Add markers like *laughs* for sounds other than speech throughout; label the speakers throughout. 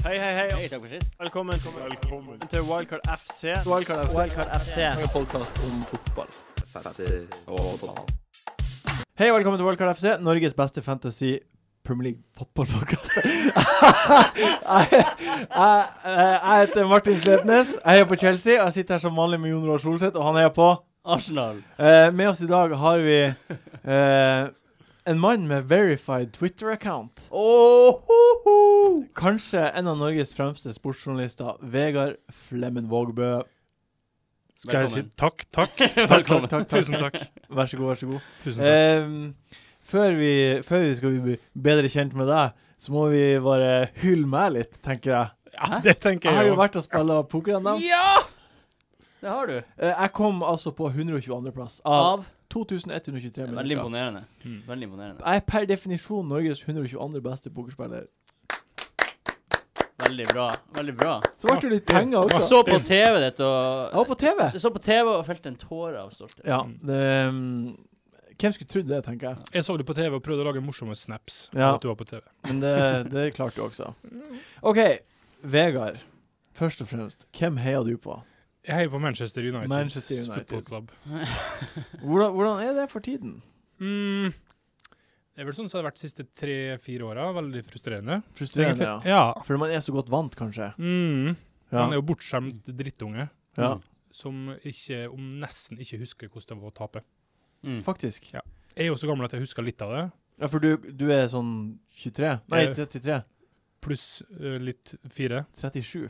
Speaker 1: Hei, hei, hei.
Speaker 2: takk for sist.
Speaker 1: Velkommen, til Wildcard FC.
Speaker 3: Wildcard FC.
Speaker 1: Wildcard FC.
Speaker 3: En podkast om fotball.
Speaker 1: Hei og velkommen til Wildcard FC, Norges beste fantasy Premier League fotballpodkast. *laughs* jeg, jeg, jeg heter Martin Slepnes, jeg heier på Chelsea, og jeg sitter her som vanlig med Jon Roar Solseth, og han heier på
Speaker 2: Arsenal.
Speaker 1: Eh, Med oss i dag har vi eh, en mann med verified Twitter-account. Kanskje en av Norges fremste sportsjournalister, Vegard Flemmen Vågbø.
Speaker 4: Skal jeg si
Speaker 2: Velkommen.
Speaker 4: takk, takk? takk,
Speaker 2: Velkommen.
Speaker 4: takk, Tusen takk.
Speaker 1: Vær så god, vær så god.
Speaker 4: Tusen takk.
Speaker 1: Ehm, før, vi, før vi skal bli bedre kjent med deg, så må vi bare hylle meg litt, tenker jeg.
Speaker 4: ja, det tenker
Speaker 1: Jeg har
Speaker 4: jeg
Speaker 1: jo
Speaker 4: òg.
Speaker 1: vært og spilt poker ennå.
Speaker 2: Ja! Det har du.
Speaker 1: Eh, Jeg kom altså på 122.-plass av
Speaker 2: Av.
Speaker 1: 2123
Speaker 2: Veldig
Speaker 1: mennesker.
Speaker 2: imponerende.
Speaker 4: Mm.
Speaker 2: Veldig imponerende.
Speaker 1: Jeg er per definisjon Norges 122. beste pokerspiller.
Speaker 2: Veldig bra. Veldig bra.
Speaker 1: Så ble det litt penger
Speaker 2: Jeg
Speaker 1: også.
Speaker 2: så på TV ditt
Speaker 1: Jeg var
Speaker 2: og
Speaker 1: på TV.
Speaker 2: Jeg så på TV og felte en tåre av stolthet.
Speaker 1: Ja, det, mm, hvem skulle trodd det, tenker jeg.
Speaker 4: Jeg så det på TV og prøvde å lage morsomme snaps.
Speaker 1: Ja.
Speaker 4: Ja. At du var på TV.
Speaker 1: Men det, det klarte du også. OK, Vegard. Først og fremst, hvem heier du på?
Speaker 4: Jeg heier på Manchester United.
Speaker 1: Manchester United.
Speaker 4: Football Club.
Speaker 1: Hvordan, hvordan er det for tiden?
Speaker 4: Mm. Det er vel sånn som det har vært de siste tre-fire åra. Veldig frustrerende.
Speaker 1: Frustrerende, ja.
Speaker 4: egentlig. ja.
Speaker 1: Fordi man er så godt vant, kanskje.
Speaker 4: Mm.
Speaker 1: Ja.
Speaker 4: Han er jo bortskjemt drittunge
Speaker 1: ja.
Speaker 4: som ikke, om nesten ikke husker hvordan det var å tape.
Speaker 2: Mm.
Speaker 1: Faktisk.
Speaker 4: Ja. Jeg er jo så gammel at jeg husker litt av det,
Speaker 1: Ja, for du, du er sånn 23? Nei,
Speaker 4: Eh.
Speaker 1: 33?
Speaker 4: pluss eh, litt fire.
Speaker 1: 37.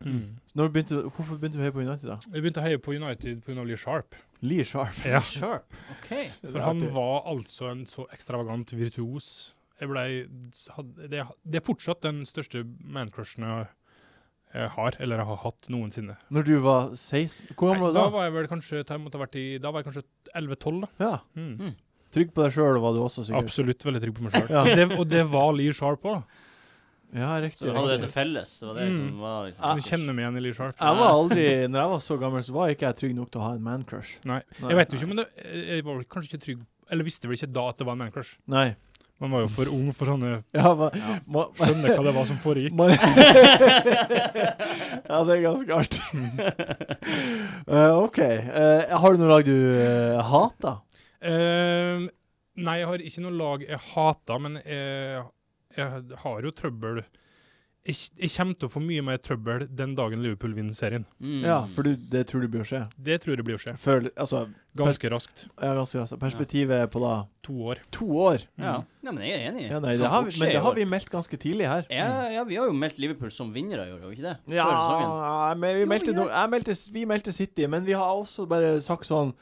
Speaker 4: Mm.
Speaker 1: Så når begynte du, hvorfor begynte du å heie på United, da?
Speaker 4: Jeg begynte å heie på United pga. Lee Sharp.
Speaker 1: Lee Sharp.
Speaker 4: Ja.
Speaker 2: Sure. OK.
Speaker 4: For han var altså en så ekstravagant virtuos. Jeg ble, had- det, det er fortsatt den største mancrushen jeg jeg har, eller har hatt noensinne.
Speaker 1: Når du var 16? Hvor
Speaker 4: Nei,
Speaker 1: gammel var
Speaker 4: da
Speaker 1: du da?
Speaker 4: var jeg vel kanskje da jeg måtte ha vært i, da var jeg kanskje 11-12. da.
Speaker 1: Ja.
Speaker 4: Mm.
Speaker 1: Trygg på deg sjøl var du også, sikkert.
Speaker 4: Absolutt veldig trygg på meg sjøl.
Speaker 1: Ja.
Speaker 4: Og det var Lee Sharp òg.
Speaker 1: Ja, riktig.
Speaker 2: Så du hadde det til
Speaker 1: riktig.
Speaker 2: felles? Det var det som
Speaker 4: Mm.
Speaker 2: var
Speaker 1: Ah.
Speaker 4: Du
Speaker 2: liksom
Speaker 4: kjenner meg igjen i Lee Sharp.
Speaker 1: Jeg var aldri, når jeg var så gammel, så var ikke jeg trygg nok til å ha en mancrush.
Speaker 4: Nei.
Speaker 1: Nei.
Speaker 4: Jeg vet jo ikke, men det, jeg var vel kanskje ikke trygg Eller visste vel ikke da at det var en mancrush.
Speaker 1: Nei.
Speaker 4: Man var jo for ung for sånne
Speaker 1: Ja, hva,
Speaker 2: Ja.
Speaker 1: ma,
Speaker 4: Skjønne hva det var som foregikk.
Speaker 1: *laughs* Man- ja, det er ganske artig. Eh, OK. Eh, har du noe lag du eh, hater?
Speaker 4: Ehm, nei, jeg har ikke noe lag jeg hater, men jeg, jeg har jo trøbbel jeg, jeg kommer til å få mye mer trøbbel den dagen Liverpool vinner serien.
Speaker 2: Mm.
Speaker 1: Ja, for du, det tror du bør skje?
Speaker 4: Det tror jeg blir å skje.
Speaker 1: Føl, altså,
Speaker 4: Ganske raskt.
Speaker 1: ja, ganske raskt. Perspektivet er på da
Speaker 4: To år.
Speaker 1: to år.
Speaker 2: ja. ja, men jeg er enig. Mm.
Speaker 1: Ja, nei,
Speaker 2: Kan
Speaker 1: det har
Speaker 2: fort
Speaker 1: vi,
Speaker 2: skje
Speaker 1: men
Speaker 2: i
Speaker 1: det har
Speaker 2: år.
Speaker 1: vi meldt ganske tidlig her.
Speaker 2: ja, ja, vi har jo meldt Liverpool som vinnere i år, har vi ikke det? Før sesongen.
Speaker 1: Ja, men vi
Speaker 2: Jo,
Speaker 1: meldte,
Speaker 2: vi
Speaker 1: no, jeg meldte, vi meldte City, men vi har også bare sagt sånn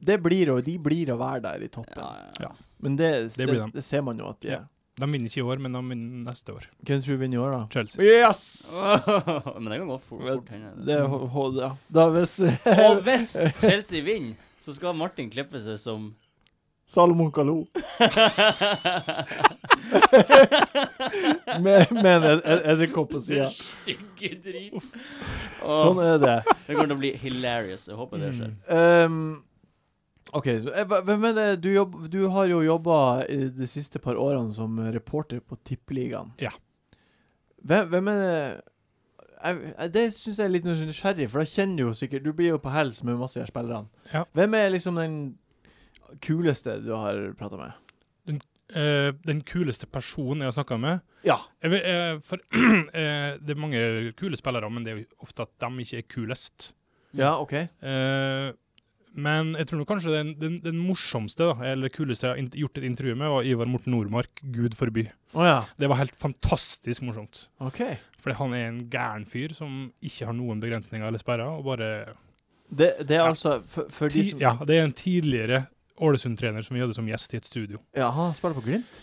Speaker 1: det blir å, De blir å være der i toppen.
Speaker 2: Ja, ja.
Speaker 4: Ja.
Speaker 1: Men det, det, det,
Speaker 4: Det blir de.
Speaker 1: ser man jo at de er.
Speaker 4: De vinner ikke i år, men de vinner neste år.
Speaker 1: Hvem tror du vinner i år, da?
Speaker 4: Chelsea.
Speaker 1: Yes!
Speaker 2: *laughs* men det kan gå fort,
Speaker 1: Men
Speaker 2: fort hende.
Speaker 1: Det er ho- ho- ja. Mm. Da hvis *laughs*
Speaker 2: Og hvis Chelsea vinner, så skal Martin klippe seg som
Speaker 1: Salomon Kalou med, med en ed- ed- edderkopp på sida.
Speaker 2: Den stygge drit. Åh,
Speaker 1: Sånn er det.
Speaker 2: Det kommer til å bli hilarious. Jeg håper det skjer.
Speaker 1: Ehm, OK, så, eh, hva- hvem er det du jobb, Du har jo jobba i de siste par årene som reporter på Tippeligaen.
Speaker 4: Ja.
Speaker 1: Hvem, hvem er det jeg, jeg- Det syns jeg er litt nysgjerrig, for da kjenner du jo sikkert Du blir jo på hels med masse av spillerne.
Speaker 4: Ja.
Speaker 1: Hvem er liksom den kuleste du har prata med?
Speaker 4: Eh, den kuleste personen jeg har snakka med
Speaker 1: Ja.
Speaker 4: jeg vil, eh, for, *clears throat* eh, Det er mange kule spillere, men det er jo ofte at de ikke er kulest.
Speaker 1: Ja, OK.
Speaker 4: Eh, men jeg tror nok kanskje den, den, den morsomste da, eller kuleste jeg har int- gjort et intervju med, var Ivar Morten Nordmark, Gud forby.
Speaker 1: Å ja.
Speaker 4: Det var helt fantastisk morsomt.
Speaker 1: OK.
Speaker 4: Fordi han er en gæren fyr som ikke har noen begrensninger eller sperrer. Og bare
Speaker 1: Det, det er
Speaker 4: Ja.
Speaker 1: altså for, for de
Speaker 4: ti,
Speaker 1: som
Speaker 4: ja, det er en tidligere Ålesund-trener som vi hadde som gjest i et studio.
Speaker 1: Ja, han spiller på Glimt?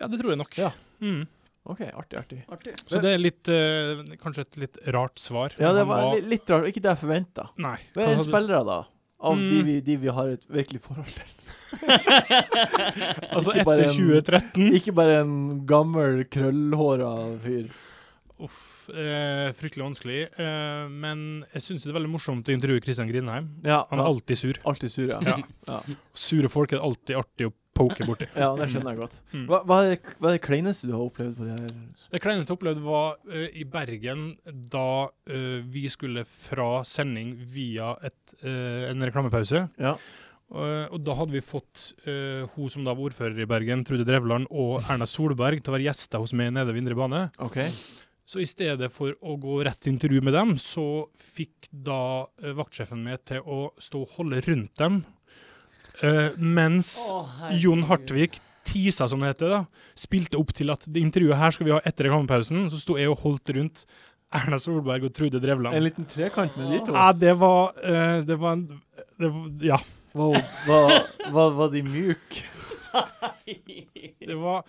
Speaker 4: Ja, det tror jeg nok.
Speaker 1: Ja.
Speaker 4: Mm.
Speaker 1: OK, artig, artig.
Speaker 2: Artig.
Speaker 4: Så det er litt, eh, kanskje et litt rart svar.
Speaker 1: Ja, det
Speaker 4: Han
Speaker 1: var li- litt rart. Ikke det jeg forventa.
Speaker 4: Nei.
Speaker 1: Hva er
Speaker 4: Han hadde-
Speaker 1: spillere, da? Av de,
Speaker 4: Mm.
Speaker 1: vi, de vi har et virkelig forhold til.
Speaker 4: Altså
Speaker 1: ikke bare
Speaker 4: etter
Speaker 1: en-
Speaker 4: 2013
Speaker 1: Ikke bare en gammel, krøllhåra fyr.
Speaker 4: Uff, eh, fryktelig vanskelig. Eh, men jeg syns det er veldig morsomt å intervjue Kristian Grindheim.
Speaker 1: Ja,
Speaker 4: Han er alltid sur.
Speaker 1: alltid sur, ja.
Speaker 4: Ja.
Speaker 1: Ja.
Speaker 4: Sure folk er det alltid artig å poke borti.
Speaker 1: *laughs* Ja, det skjønner jeg godt.
Speaker 4: Mm.
Speaker 1: Hva, hva, er det, hva er det kleineste du har opplevd på det her?
Speaker 4: Det kleineste jeg opplevde, var eh, i Bergen da eh, vi skulle fra sending via et, eh, en reklamepause.
Speaker 1: Ja.
Speaker 4: Eh, og da hadde vi fått eh, hun som da var ordfører i Bergen, Trude Drevland, og Erna Solberg til å være gjester hos meg nede ved Indre bane.
Speaker 1: OK.
Speaker 4: Så i stedet for å gå rett til intervju med dem, så fikk da eh, vaktsjefen meg til å stå og holde rundt dem, eh, mens Jon Hartvig tisa, som det heter, da, spilte opp til at det intervjuet her skal vi ha etter reklamepausen. Så sto jeg og holdt rundt Erna Solberg og Trude
Speaker 1: En
Speaker 4: Drevland.
Speaker 1: liten trekant med de to?
Speaker 4: Ja, det var, eh, det var en det var, Ja.
Speaker 1: Var, var, var, var de mjuke?
Speaker 4: Det var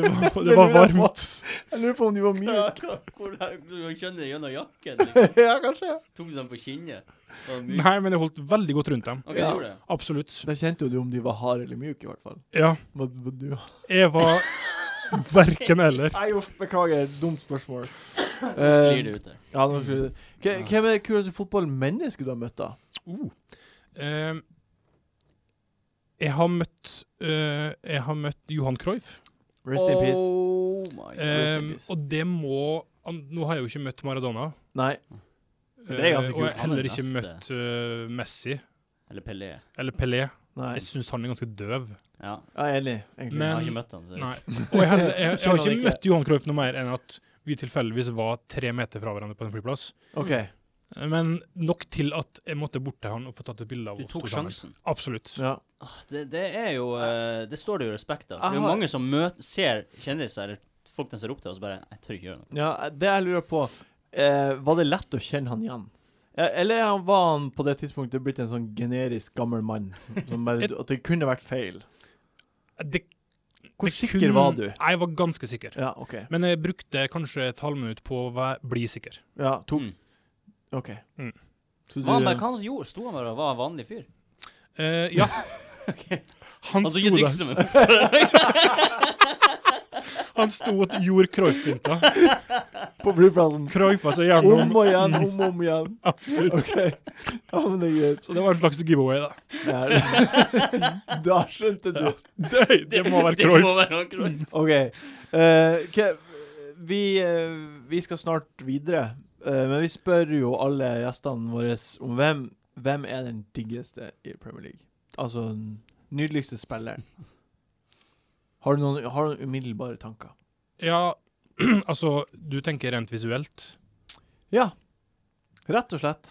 Speaker 1: *laughs*
Speaker 4: var, *laughs* det var varmt.
Speaker 1: Jeg lurer på om de var
Speaker 2: Ja,
Speaker 1: mjuke.
Speaker 2: hvor- Du skjønner det gjennom jakken. Liksom.
Speaker 1: ja, kanskje.
Speaker 2: Tok du dem på kinnet? Var det myk?
Speaker 4: Nei, men jeg holdt veldig godt rundt dem.
Speaker 2: OK,
Speaker 1: Ja.
Speaker 2: gjorde det.
Speaker 4: Absolutt.
Speaker 1: Da kjente jo du om de var harde eller mjuke, i hvert fall.
Speaker 4: Ja.
Speaker 1: Var, var du *laughs*
Speaker 4: Jeg var verken eller.
Speaker 1: Nei, uff, beklager. Dumt spørsmål.
Speaker 2: Nå
Speaker 1: Eh,
Speaker 2: sklir det ut der.
Speaker 1: ja, nå sklir det Hva- Hvem er det kuleste fotballmennesket du har møtt, da?
Speaker 4: Uh. Eh, jeg har møtt eh, Jeg har møtt Johan Cruyff.
Speaker 1: Rest in peace.
Speaker 2: Oh my
Speaker 4: Eh,
Speaker 2: god.
Speaker 4: og det må an, Nå har jeg jo ikke møtt Maradona.
Speaker 1: Nei.
Speaker 4: eh,
Speaker 1: Det er ganske
Speaker 4: og jeg
Speaker 1: kult.
Speaker 2: Han
Speaker 4: har
Speaker 2: er
Speaker 4: heller
Speaker 2: den
Speaker 4: ikke
Speaker 2: beste.
Speaker 4: møtt eh, Messi
Speaker 2: Eller Pelé.
Speaker 4: eller Pelé.
Speaker 1: Nei.
Speaker 4: Jeg syns han er ganske døv.
Speaker 2: Ja.
Speaker 1: Ja, jeg er enig, egentlig.
Speaker 2: jeg
Speaker 4: Men-
Speaker 2: har ikke møtt han. så jeg
Speaker 4: Nei.
Speaker 2: vet
Speaker 4: Og jeg, heller, jeg, jeg har
Speaker 1: Skjønner det
Speaker 4: ikke
Speaker 1: ikke.
Speaker 4: møtt Johan Cruyff noe mer enn at vi tilfeldigvis var tre meter fra hverandre på en flyplass.
Speaker 1: OK.
Speaker 4: Eh, Men nok til at jeg måtte bort til han og få tatt et bilde
Speaker 2: ikke.
Speaker 4: av
Speaker 2: Du
Speaker 4: oss.
Speaker 2: tok
Speaker 4: to sammen.
Speaker 2: sjansen.
Speaker 4: Absolutt.
Speaker 1: Ja.
Speaker 2: Ah, Det, det er jo eh, Det står det jo respekt av. Det er
Speaker 1: Jeg
Speaker 2: jo
Speaker 1: har-
Speaker 2: mange som møter, ser kjendiser eller folk de ser opp til, og så bare Jeg tør ikke gjøre noe.
Speaker 1: ja, det jeg lurer på eh, Var det lett å kjenne han igjen? Eh, Eller er han- var han på det tidspunktet blitt en sånn generisk gammel mann? Som, som bare, at det kunne vært feil?
Speaker 4: Det,
Speaker 1: Hvor
Speaker 4: det
Speaker 1: sikker
Speaker 4: kun-
Speaker 1: var du?
Speaker 4: Jeg var ganske sikker.
Speaker 1: Ja, OK.
Speaker 4: Men jeg brukte kanskje et halvminutt på å væ- bli sikker.
Speaker 1: Ja, to.
Speaker 2: Mm.
Speaker 1: OK.
Speaker 4: Mm.
Speaker 1: Så
Speaker 2: Var han bare, hva han gjorde? Sto han bare og var en vanlig fyr?
Speaker 4: Eh, *laughs* ja. han,
Speaker 2: Altså
Speaker 4: sto
Speaker 2: ikke
Speaker 4: der,
Speaker 2: trikse med
Speaker 4: han sto og gjorde Cruyff-finta.
Speaker 1: På flyplassen.
Speaker 4: Cruyffa seg
Speaker 1: Om
Speaker 4: gjennom.
Speaker 1: og igjen, om og om igjen.
Speaker 4: Absolutt.
Speaker 1: OK. Ja, men det er greit.
Speaker 4: Så det var en slags giveaway, da.
Speaker 1: Der. *laughs* Da skjønte du.
Speaker 4: Ja. Det, det må
Speaker 2: *laughs*
Speaker 4: være
Speaker 2: Det må
Speaker 4: Cruyff.
Speaker 2: være han
Speaker 1: *laughs*
Speaker 2: Cruyff.
Speaker 1: OK. eh, hva- vi, eh, vi skal snart videre, eh, men vi spør jo alle gjestene våre om hvem, hvem er den diggeste i Premier League? Altså den nydeligste spilleren. Har du noen, har du noen umiddelbare tanker?
Speaker 4: Ja, *clears throat* altså, du tenker rent visuelt.
Speaker 1: Ja. Rett og slett.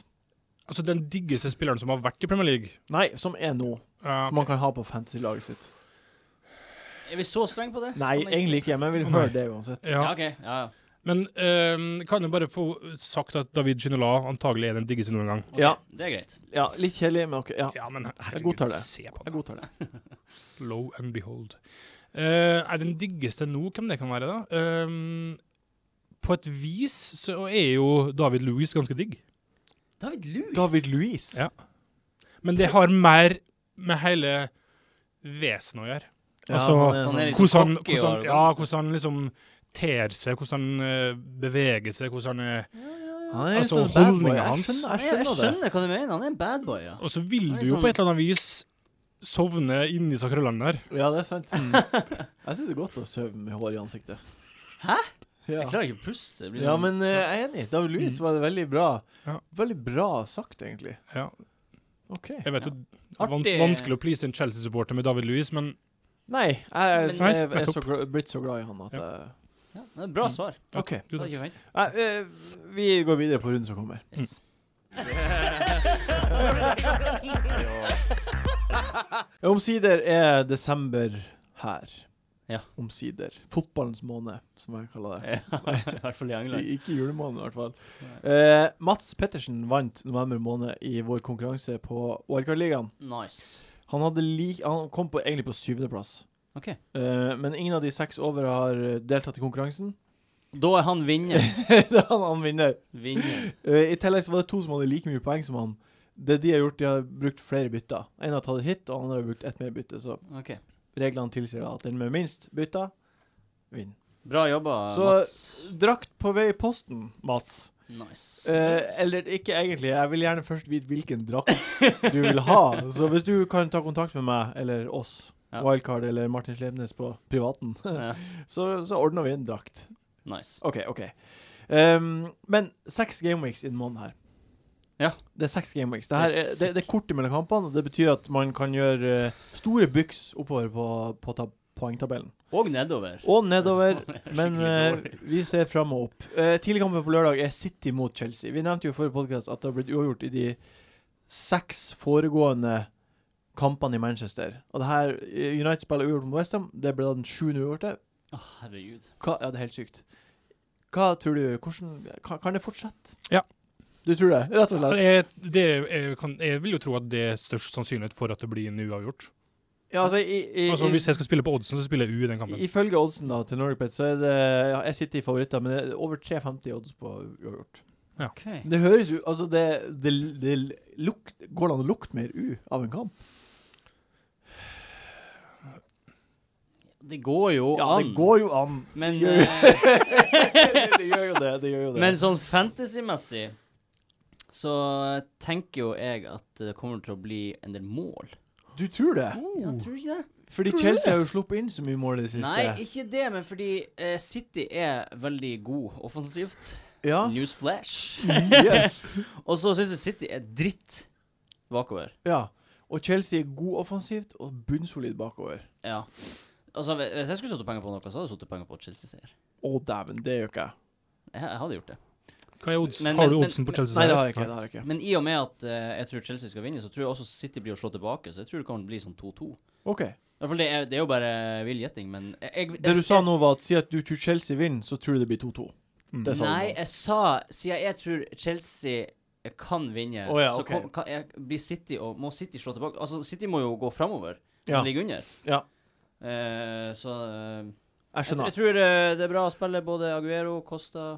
Speaker 4: Altså, den diggeste spilleren som har vært i Premier League.
Speaker 1: Nei, som er nå.
Speaker 4: Eh,
Speaker 1: Som man kan ha på fantasy-laget sitt.
Speaker 2: Er vi så strenge på det?
Speaker 1: Nei,
Speaker 2: Han er ikke-
Speaker 1: egentlig ikke, men jeg vil
Speaker 4: Nei.
Speaker 1: høre det uansett.
Speaker 2: Ja,
Speaker 4: ja.
Speaker 2: OK. Ja, ja.
Speaker 4: Men eh, kan jeg bare få sagt at David Ginola antagelig er den diggeste noen gang.
Speaker 2: Ok,
Speaker 1: Ja.
Speaker 2: Det er greit.
Speaker 1: Ja, litt kjedelig, men OK. Ja,
Speaker 4: Ja, men
Speaker 1: Jeg godtar
Speaker 4: herregud,
Speaker 1: det.
Speaker 4: se på
Speaker 1: jeg
Speaker 4: det. *laughs*
Speaker 1: godtar det.
Speaker 4: Low and behold. Eh, er den diggeste nå, hvem det kan være, da? Eh, på et vis så er jo David Louis ganske digg.
Speaker 2: David Louis.
Speaker 1: David Louise.
Speaker 4: Ja. Men det har mer med hele vesenet å gjøre. Altså,
Speaker 2: han er litt
Speaker 4: Hvordan,
Speaker 2: cocky
Speaker 4: hvordan,
Speaker 2: og arrogant.
Speaker 4: ja, hvordan han liksom ter seg, hvordan han eh, beveger seg, hvordan han er
Speaker 1: Han er
Speaker 4: altså,
Speaker 1: sånn bad boy.
Speaker 4: holdningen
Speaker 1: Jeg
Speaker 4: hans.
Speaker 1: skjønner-
Speaker 2: Jeg
Speaker 1: Jeg skjønner det.
Speaker 2: hva du mener. Han er en bad boy, ja.
Speaker 4: Og så vil
Speaker 2: Han er
Speaker 4: du jo
Speaker 2: sånn-
Speaker 4: på et eller annet vis sovne inni disse krøllene der.
Speaker 1: Ja, det er sant.
Speaker 2: *laughs*
Speaker 1: Jeg syns det er godt å sove med hår i ansiktet.
Speaker 2: Hæ? Jeg
Speaker 1: Ja,
Speaker 2: klarer ikke å puste. Det blir
Speaker 1: ja
Speaker 2: sånn- Mm.
Speaker 1: men eh, jeg er enig. David Louis var det veldig bra.
Speaker 4: Ja.
Speaker 1: Veldig bra sagt, egentlig.
Speaker 4: Ja,
Speaker 1: OK.
Speaker 4: jeg vet
Speaker 2: Ja.
Speaker 4: jo det er vans
Speaker 2: Artig.
Speaker 4: vanskelig å please en Chelsea-supporter med David Louis, men
Speaker 1: Nei, jeg, jeg,
Speaker 4: Nei,
Speaker 1: jeg, jeg er
Speaker 4: nettopp.
Speaker 1: så gla- blitt så glad i han at eh,
Speaker 2: ja, det er et Bra svar.
Speaker 1: OK.
Speaker 4: du,
Speaker 2: Det
Speaker 4: da.
Speaker 2: er ikke feil.
Speaker 1: Nei, eh, vi går videre på runden som kommer.
Speaker 2: Yes. *laughs*
Speaker 1: Omsider er desember her.
Speaker 2: Ja.
Speaker 1: Omsider. Fotballens måned, som jeg kaller det.
Speaker 2: Ja,
Speaker 1: *laughs*
Speaker 2: I hvert fall i England.
Speaker 1: I- Ikke julemåneden, i hvert fall.
Speaker 2: Nei.
Speaker 1: Eh, Mats Pettersen vant november måned i vår konkurranse på OL-ligaen.
Speaker 2: Nice.
Speaker 1: Han, hadde lik, han kom på, egentlig på syvendeplass.
Speaker 2: OK.
Speaker 1: Eh, men ingen av de seks over har eh, deltatt i konkurransen. *laughs*
Speaker 2: Da er han vinner.
Speaker 1: det er han, han vinner.
Speaker 2: Vinner.
Speaker 1: Eh, I tillegg så var det to som hadde like mye poeng som han. Det de har gjort, de har brukt flere bytter. En har tatt et hit, og andre har brukt ett mer bytte. Så
Speaker 2: Ok.
Speaker 1: reglene tilsier da at den med minst bytter, vinner.
Speaker 2: Bra jobba,
Speaker 1: Så-
Speaker 2: Mats.
Speaker 1: Drakt på vei i posten, Mats.
Speaker 2: Nice.
Speaker 1: Eh, eller ikke egentlig. Jeg vil
Speaker 2: *laughs*
Speaker 1: gjerne først vite hvilken drakt du vil ha. Så hvis du kan ta kontakt med meg eller oss
Speaker 2: Ja.
Speaker 1: wildcard eller Martin Slepnes på
Speaker 2: *laughs*
Speaker 1: privaten,
Speaker 2: Ja.
Speaker 1: så, så ordner vi en drakt.
Speaker 2: Nice.
Speaker 1: OK, OK. Um, men seks gameweeks i den måneden her.
Speaker 2: Ja.
Speaker 1: Det er seks gameweeks. Det, her
Speaker 2: Det er
Speaker 1: er, det, det er kort mellom kampene, og det betyr at man kan gjøre eh, store byks oppover på, på ta poengtabellen.
Speaker 2: Og nedover.
Speaker 1: Og nedover,
Speaker 2: Det er så-
Speaker 1: men eh,
Speaker 2: *laughs* skikkelig dårlig.
Speaker 1: vi ser fram og opp. Uh, Tidligkampen på lørdag er City mot Chelsea. Vi nevnte jo i forrige podkast at det har blitt uavgjort i de seks foregående kampene i Manchester. Og det her, eh, United spiller uavgjort mot Westham. Det ble da den sjuende uavgjorte.
Speaker 2: Å, herregud.
Speaker 1: Hva, ja, det er helt sykt. Hva tror du hvordan, kan, kan det fortsette?
Speaker 4: Ja.
Speaker 1: Du tror det? Rett og slett?
Speaker 4: Jeg, det, jeg, kan, jeg vil jo tro at det er størst sannsynlighet for at det blir en uavgjort.
Speaker 1: Ja, altså, i, i,
Speaker 4: Altså,
Speaker 1: i,
Speaker 4: hvis jeg skal spille på oddsen, så spiller jeg U i den kampen.
Speaker 1: Ifølge oddsen da til Nordic Bet, så er det ja, Jeg sitter i favoritter, men det er over 3,50 i odds på uavgjort.
Speaker 2: Ok.
Speaker 1: Det høres jo Altså, det, det, det lukt, Går det an å lukte mer U av en kamp?
Speaker 2: Det går jo
Speaker 1: Ja,
Speaker 2: an.
Speaker 1: det går jo an.
Speaker 2: Men,
Speaker 1: *laughs* det, gjør,
Speaker 2: eh,
Speaker 1: det, det gjør jo det. Det gjør jo det.
Speaker 2: men sånn fantasy-messig så tenker jo jeg at det kommer til å bli en del mål.
Speaker 1: du tror det?
Speaker 2: Ja, tror du ikke det?
Speaker 1: Fordi
Speaker 4: Tror du
Speaker 1: Chelsea
Speaker 4: det?
Speaker 1: har jo sluppet inn så mye mål i det siste.
Speaker 2: Nei, ikke det, men fordi eh, City er veldig god offensivt.
Speaker 1: Ja.
Speaker 2: Newsflash.
Speaker 1: Yes.
Speaker 2: Og så syns jeg City er dritt bakover.
Speaker 1: *laughs* Ja. Og Chelsea er god offensivt og bunnsolid bakover.
Speaker 2: Ja. Altså, hvis hvis jeg skulle satt penger på noe, så hadde jeg satt penger på Chelsea-seier.
Speaker 1: Å, dæven, det gjør ikke jeg.
Speaker 2: Jeg, jeg hadde gjort det.
Speaker 4: Hva er oddsen?
Speaker 2: Men-
Speaker 4: har du
Speaker 2: men-
Speaker 4: oddsen på
Speaker 2: men-
Speaker 4: Chelsea?
Speaker 1: Nei, det har jeg ikke. det har jeg ikke.
Speaker 2: Men i og med at eh, jeg tror Chelsea skal vinne, så tror jeg også City blir å slå tilbake. Så jeg tror det kan bli sånn 2-2.
Speaker 1: OK.
Speaker 2: I hvert fall det er, det er jo bare vill gjetting, men jeg, jeg,
Speaker 1: Det du
Speaker 2: jeg-
Speaker 1: sa nå, var at si at du tror Chelsea vinner, så tror du det blir 2-2.
Speaker 4: Mm.
Speaker 1: Det sa du
Speaker 2: Nei,
Speaker 1: nå.
Speaker 2: jeg sa Siden jeg tror Chelsea kan vinne,
Speaker 1: Å ja,
Speaker 2: så
Speaker 1: ok.
Speaker 2: kan, kan, jeg, blir City og må City slå tilbake. Altså, City må jo gå framover.
Speaker 1: Ja.
Speaker 2: De ligger under.
Speaker 1: Ja.
Speaker 2: Eh, så eh,
Speaker 1: Jeg
Speaker 2: jeg,
Speaker 1: skjønner.
Speaker 2: jeg tror eh, det er bra å spille både Aguero, Costa,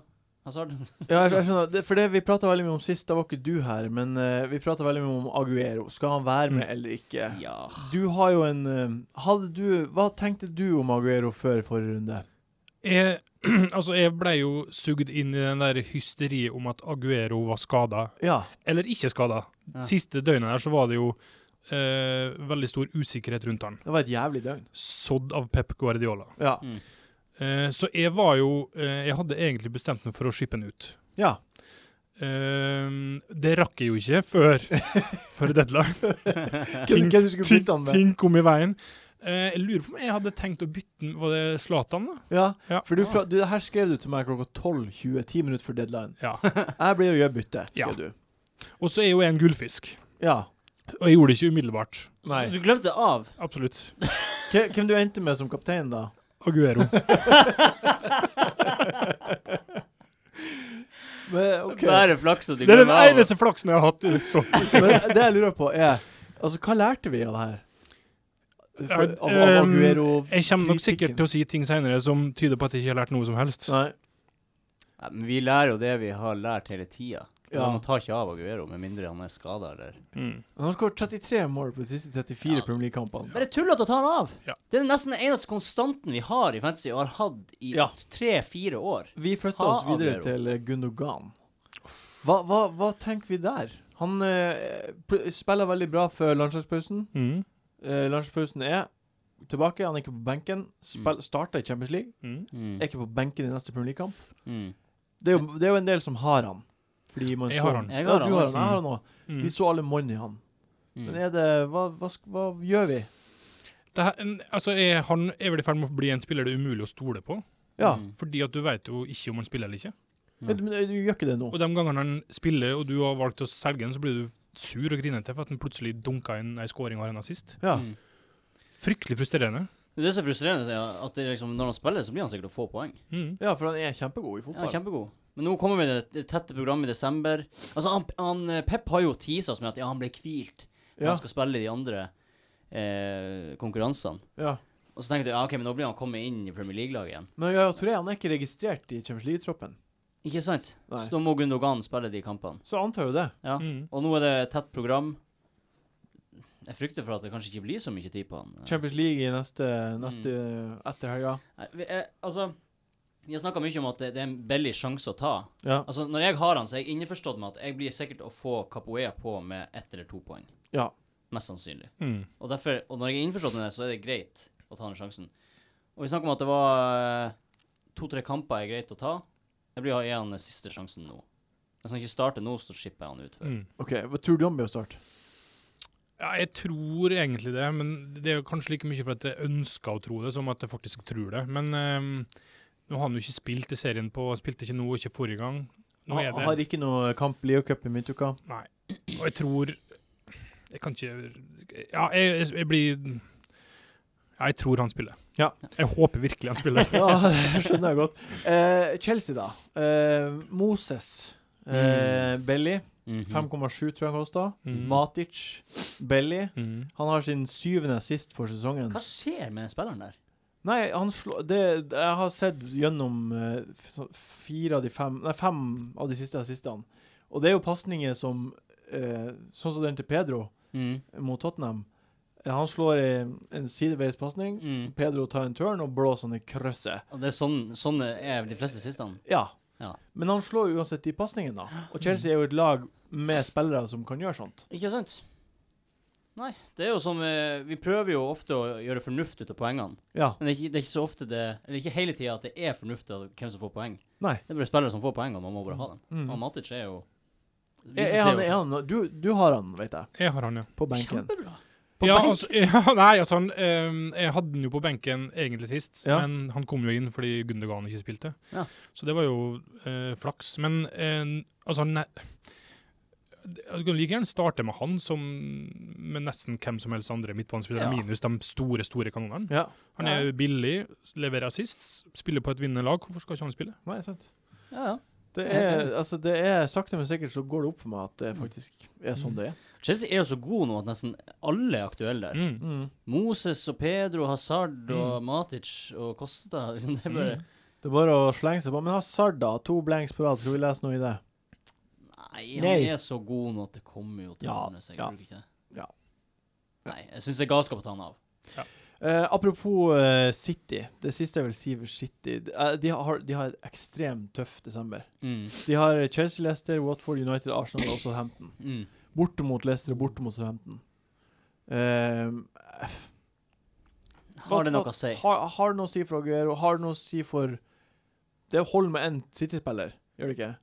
Speaker 2: Hazard.
Speaker 1: Ja, jeg, jeg skjønner. Det, for det vi prata veldig mye om sist, da var ikke du her, men eh, vi prata veldig mye om Aguero. Skal han være med
Speaker 4: Mm.
Speaker 1: eller ikke?
Speaker 2: Ja.
Speaker 1: Du har jo en eh, Hadde du Hva tenkte du om Aguero før forrige runde?
Speaker 4: Jeg, *clears throat* altså, jeg ble jo sugd inn i den der hysteriet om at Aguero var skada,
Speaker 1: Ja.
Speaker 4: eller ikke skada.
Speaker 2: Ja.
Speaker 4: Siste døgnet her så var det jo eh, veldig stor usikkerhet rundt han.
Speaker 1: Det var et jævlig døgn.
Speaker 4: Sådd av Pep Guardiola.
Speaker 1: Ja.
Speaker 2: Mm.
Speaker 4: Eh, så jeg var jo eh, Jeg hadde egentlig bestemt meg for å shippe han ut.
Speaker 1: Ja.
Speaker 4: Eh, det rakk jeg jo ikke
Speaker 1: *laughs*
Speaker 4: før, før deadline. Ting-
Speaker 1: Hva du skulle
Speaker 4: ting,
Speaker 1: bytte han med?
Speaker 4: ting kom i veien. Eh, jeg lurer på om jeg hadde tenkt å bytte den Var det Zlatan, da?
Speaker 1: Ja.
Speaker 4: Ja.
Speaker 1: For du, pra- du, det her skrev du til meg klokka 12.20, ti minutter før deadline.
Speaker 4: Ja.
Speaker 1: Jeg blir å gjøre bytte,
Speaker 4: Ja.
Speaker 1: skrev du.
Speaker 4: Og så er jo jeg en gullfisk.
Speaker 1: Ja.
Speaker 4: Og jeg gjorde det ikke umiddelbart.
Speaker 1: Nei.
Speaker 2: Så Du glemte av.
Speaker 4: Absolutt.
Speaker 1: Hvem hvem du endte med som kaptein, da?
Speaker 4: *laughs* Aguero.
Speaker 1: Men, ok.
Speaker 2: Bare flaks at du
Speaker 4: Det er den
Speaker 2: glemmer av.
Speaker 4: eneste flaksen jeg har hatt. Så.
Speaker 1: Men det jeg lurer på, er Altså, hva lærte vi av det her? For, av, av
Speaker 4: Um,
Speaker 1: Aguero
Speaker 4: Jeg kommer nok sikkert
Speaker 1: kritikken.
Speaker 4: til å si ting seinere som tyder på at jeg ikke har lært noe som helst.
Speaker 1: Nei.
Speaker 2: Ja, men vi lærer jo det vi har lært hele tida.
Speaker 1: Ja.
Speaker 2: Man tar ikke av Aguero med mindre han er skada eller
Speaker 4: Mm.
Speaker 1: Han har skåret 33 mål på de siste 34
Speaker 2: Ja.
Speaker 1: Premier League-kampene.
Speaker 2: Bare tullete å ta han av!
Speaker 4: Ja.
Speaker 2: Det er nesten den eneste konstanten vi har i fantasy, og har hatt i
Speaker 1: Ja.
Speaker 2: tre-fire år.
Speaker 1: Vi flytta
Speaker 2: Ha
Speaker 1: oss videre
Speaker 2: Aguero.
Speaker 1: til eh, Gundogan. Hva, hva, hva tenker vi der? Han eh, pl- spiller veldig bra før landslagspausen.
Speaker 4: Mm.
Speaker 1: Eh, landslagspausen er tilbake, han er ikke på benken. Spill, Starta i Champions League,
Speaker 4: Mm.
Speaker 2: Mm.
Speaker 1: er ikke på benken i neste Premier League-kamp.
Speaker 2: Mm.
Speaker 1: Det, er jo- det er jo en del som har han. Fordi man
Speaker 4: Jeg
Speaker 1: så
Speaker 4: har han.
Speaker 2: Jeg
Speaker 1: Ja,
Speaker 2: har
Speaker 1: du
Speaker 2: han.
Speaker 1: har han. Jeg har han òg.
Speaker 4: Mm.
Speaker 1: Vi så alle monn i han.
Speaker 2: Mm.
Speaker 1: Men er det Hva, hva, sk- hva gjør vi?
Speaker 4: Det her, en- altså, er, han er vel i ferd med å bli en spiller det er umulig å stole på.
Speaker 1: Ja.
Speaker 2: Mm.
Speaker 4: Fordi at du veit jo ikke om han spiller eller ikke.
Speaker 2: Mm.
Speaker 1: Men, men du gjør ikke det nå.
Speaker 4: Og de gangene han spiller, og du har valgt å selge han, så blir du sur og grinete for at han plutselig dunka inn ei scoring og en assist.
Speaker 1: Ja.
Speaker 2: Mm.
Speaker 4: Fryktelig frustrerende. Det
Speaker 2: Det er så frustrerende ja, at det liksom, når han spiller, så blir han sikkert å få poeng.
Speaker 4: Mm.
Speaker 1: ja, for han er kjempegod i
Speaker 2: Ja, han er
Speaker 1: fotball.
Speaker 2: kjempegod. Men nå kommer vi til det tette programmet i desember. Altså, han, han, eh, Pep har jo teasa oss med at ja, han ble hvilt. for
Speaker 1: Ja,
Speaker 2: Han skal spille de andre eh, konkurransene.
Speaker 1: ja.
Speaker 2: Og så tenkte jeg ja, ok, men nå blir han kommet inn i Premier League-laget igjen.
Speaker 1: Men Yaya Touré han er ikke registrert i Champions League-troppen.
Speaker 2: Ikke sant?
Speaker 1: Nei.
Speaker 2: Så da må Gundogan spille de kampene.
Speaker 1: Så jeg antar jo det.
Speaker 2: Ja.
Speaker 4: Mm.
Speaker 2: Og nå er det tett program. Jeg frykter for at det kanskje ikke blir så mye tid på han.
Speaker 1: Champions League i neste, neste
Speaker 2: Mm.
Speaker 1: etter helga.
Speaker 2: Nei, vi, eh, altså, vi har snakka mye om at det, det er en billig sjanse å ta.
Speaker 1: Ja.
Speaker 2: Altså, Når jeg har han, så er jeg innforstått med at jeg blir sikkert å få Capoe på med ett eller to poeng.
Speaker 1: ja.
Speaker 2: Mest sannsynlig.
Speaker 4: Mm.
Speaker 2: Og, derfor, og når jeg er innforstått med det, så er det greit å ta den sjansen. Og vi snakker om at det var eh, to-tre kamper er greit å ta. Jeg blir å gi han den siste sjansen nå. Hvis han ikke starter nå, så slipper jeg han ut før.
Speaker 4: Mm.
Speaker 1: OK, hva tror du han blir å starte?
Speaker 4: Ja, jeg tror egentlig det, men det er jo kanskje like mye for at jeg ønsker å tro det, som at jeg faktisk tror det. Men ehm, nå har han jo ikke spilt i serien på Han spilte ikke nå, ikke forrige gang. Nå er
Speaker 1: Han har
Speaker 4: det
Speaker 1: ikke noe kamp Leo Cup i midtuka.
Speaker 2: *laughs*
Speaker 4: Nei. Og jeg tror Jeg kan ikke Ja, jeg, jeg, jeg blir ja, Jeg tror han spiller.
Speaker 1: Ja.
Speaker 4: Jeg håper virkelig han spiller.
Speaker 1: Ja, det skjønner jeg godt. Eh, Chelsea, da. Eh, Moses. Eh, Belly.
Speaker 2: Mhm.
Speaker 1: 5,7 tror jeg han kosta.
Speaker 4: Mm.
Speaker 1: Matic. Belly.
Speaker 4: Mm.
Speaker 1: Han har sin syvende assist for sesongen.
Speaker 2: Hva skjer med den spilleren der?
Speaker 1: Nei, han slår det, Jeg har sett gjennom eh, f- så- fire av de fem Nei, fem av de siste assistene. Og det er jo pasninger som eh, Sånn som den til Pedro
Speaker 2: Mm.
Speaker 1: mot Tottenham. Eh, Han slår en, en sideveis pasning.
Speaker 2: Mm.
Speaker 1: Pedro tar en turn og blåser han i krysset.
Speaker 2: Og det er sånn, sånn er de fleste sistene.
Speaker 1: Ja.
Speaker 2: Ja.
Speaker 1: Men han slår jo uansett de pasningene, da. Og Chelsea er jo et lag med spillere som kan gjøre sånt.
Speaker 2: Ikke sant? Nei, det er jo som eh, Vi prøver jo ofte å gjøre fornuft ut av poengene.
Speaker 1: Ja.
Speaker 2: Men det er ikke, det er ikke så ofte det Eller ikke hele tida at det er fornuft av hvem som får poeng.
Speaker 1: Nei.
Speaker 2: Det er bare spillere som får poeng, og man må bare ha dem.
Speaker 1: Mm.
Speaker 2: Og Matic er jo
Speaker 1: Er, er han, er han du, du har han, vet jeg,
Speaker 4: Jeg har han, ja.
Speaker 1: på benken.
Speaker 2: På
Speaker 4: ja,
Speaker 2: benk?
Speaker 4: altså, *laughs* ja, nei, altså han, ehm, jeg hadde han jo på benken egentlig sist,
Speaker 1: Ja.
Speaker 4: men han kom jo inn fordi Gundergan ikke spilte.
Speaker 2: Ja.
Speaker 4: Så det var jo eh, flaks. Men eh, altså ne Du kan like gjerne starte med han som med nesten hvem som helst andre midtbanespillere,
Speaker 2: Ja.
Speaker 4: minus de store, store kanonene.
Speaker 1: Ja.
Speaker 4: Han er jo billig, leverer assist, spiller på et vinnende lag. Hvorfor skal ikke han spille?
Speaker 1: Nei, sant.
Speaker 2: Ja, ja. Mm.
Speaker 1: Det
Speaker 2: Jeg er
Speaker 1: er, altså, det er sakte, men sikkert så går det opp for meg at det faktisk er sånn det er.
Speaker 2: Chelsea er jo så god nå at nesten alle er aktuelle der.
Speaker 4: Mm.
Speaker 1: Mm.
Speaker 2: Moses og Pedro, Hazard og Matic og Costa. *laughs* Liksom,
Speaker 1: Mm.
Speaker 2: det er bare
Speaker 1: Det er bare å slenge seg på. Men Hazard, da. To blanks på rad. Skal vi lese noe i det?
Speaker 2: Nei, han
Speaker 1: Nei.
Speaker 2: er så god nå at det kommer jo til å
Speaker 1: Ja,
Speaker 2: ordne seg.
Speaker 1: ja,
Speaker 2: tror du ikke det?
Speaker 1: ja.
Speaker 2: Nei, jeg syns det er galskap å ta han av.
Speaker 1: Eh, apropos eh, City. Det siste jeg vil si ved City De, eh, de, har, de har et ekstremt tøff desember.
Speaker 2: Mm.
Speaker 1: De har Chelsea, Leicester, Watford, United, Arsenal og Southampton.
Speaker 2: Mm.
Speaker 1: Borte mot Leicester og borte mot Southampton. Ehm, hva-
Speaker 2: Har det noe
Speaker 1: hva-
Speaker 2: å si?
Speaker 1: Har, har det noe å si for Aguero? Har det noe å si for Det holder med én City-spiller, gjør det ikke?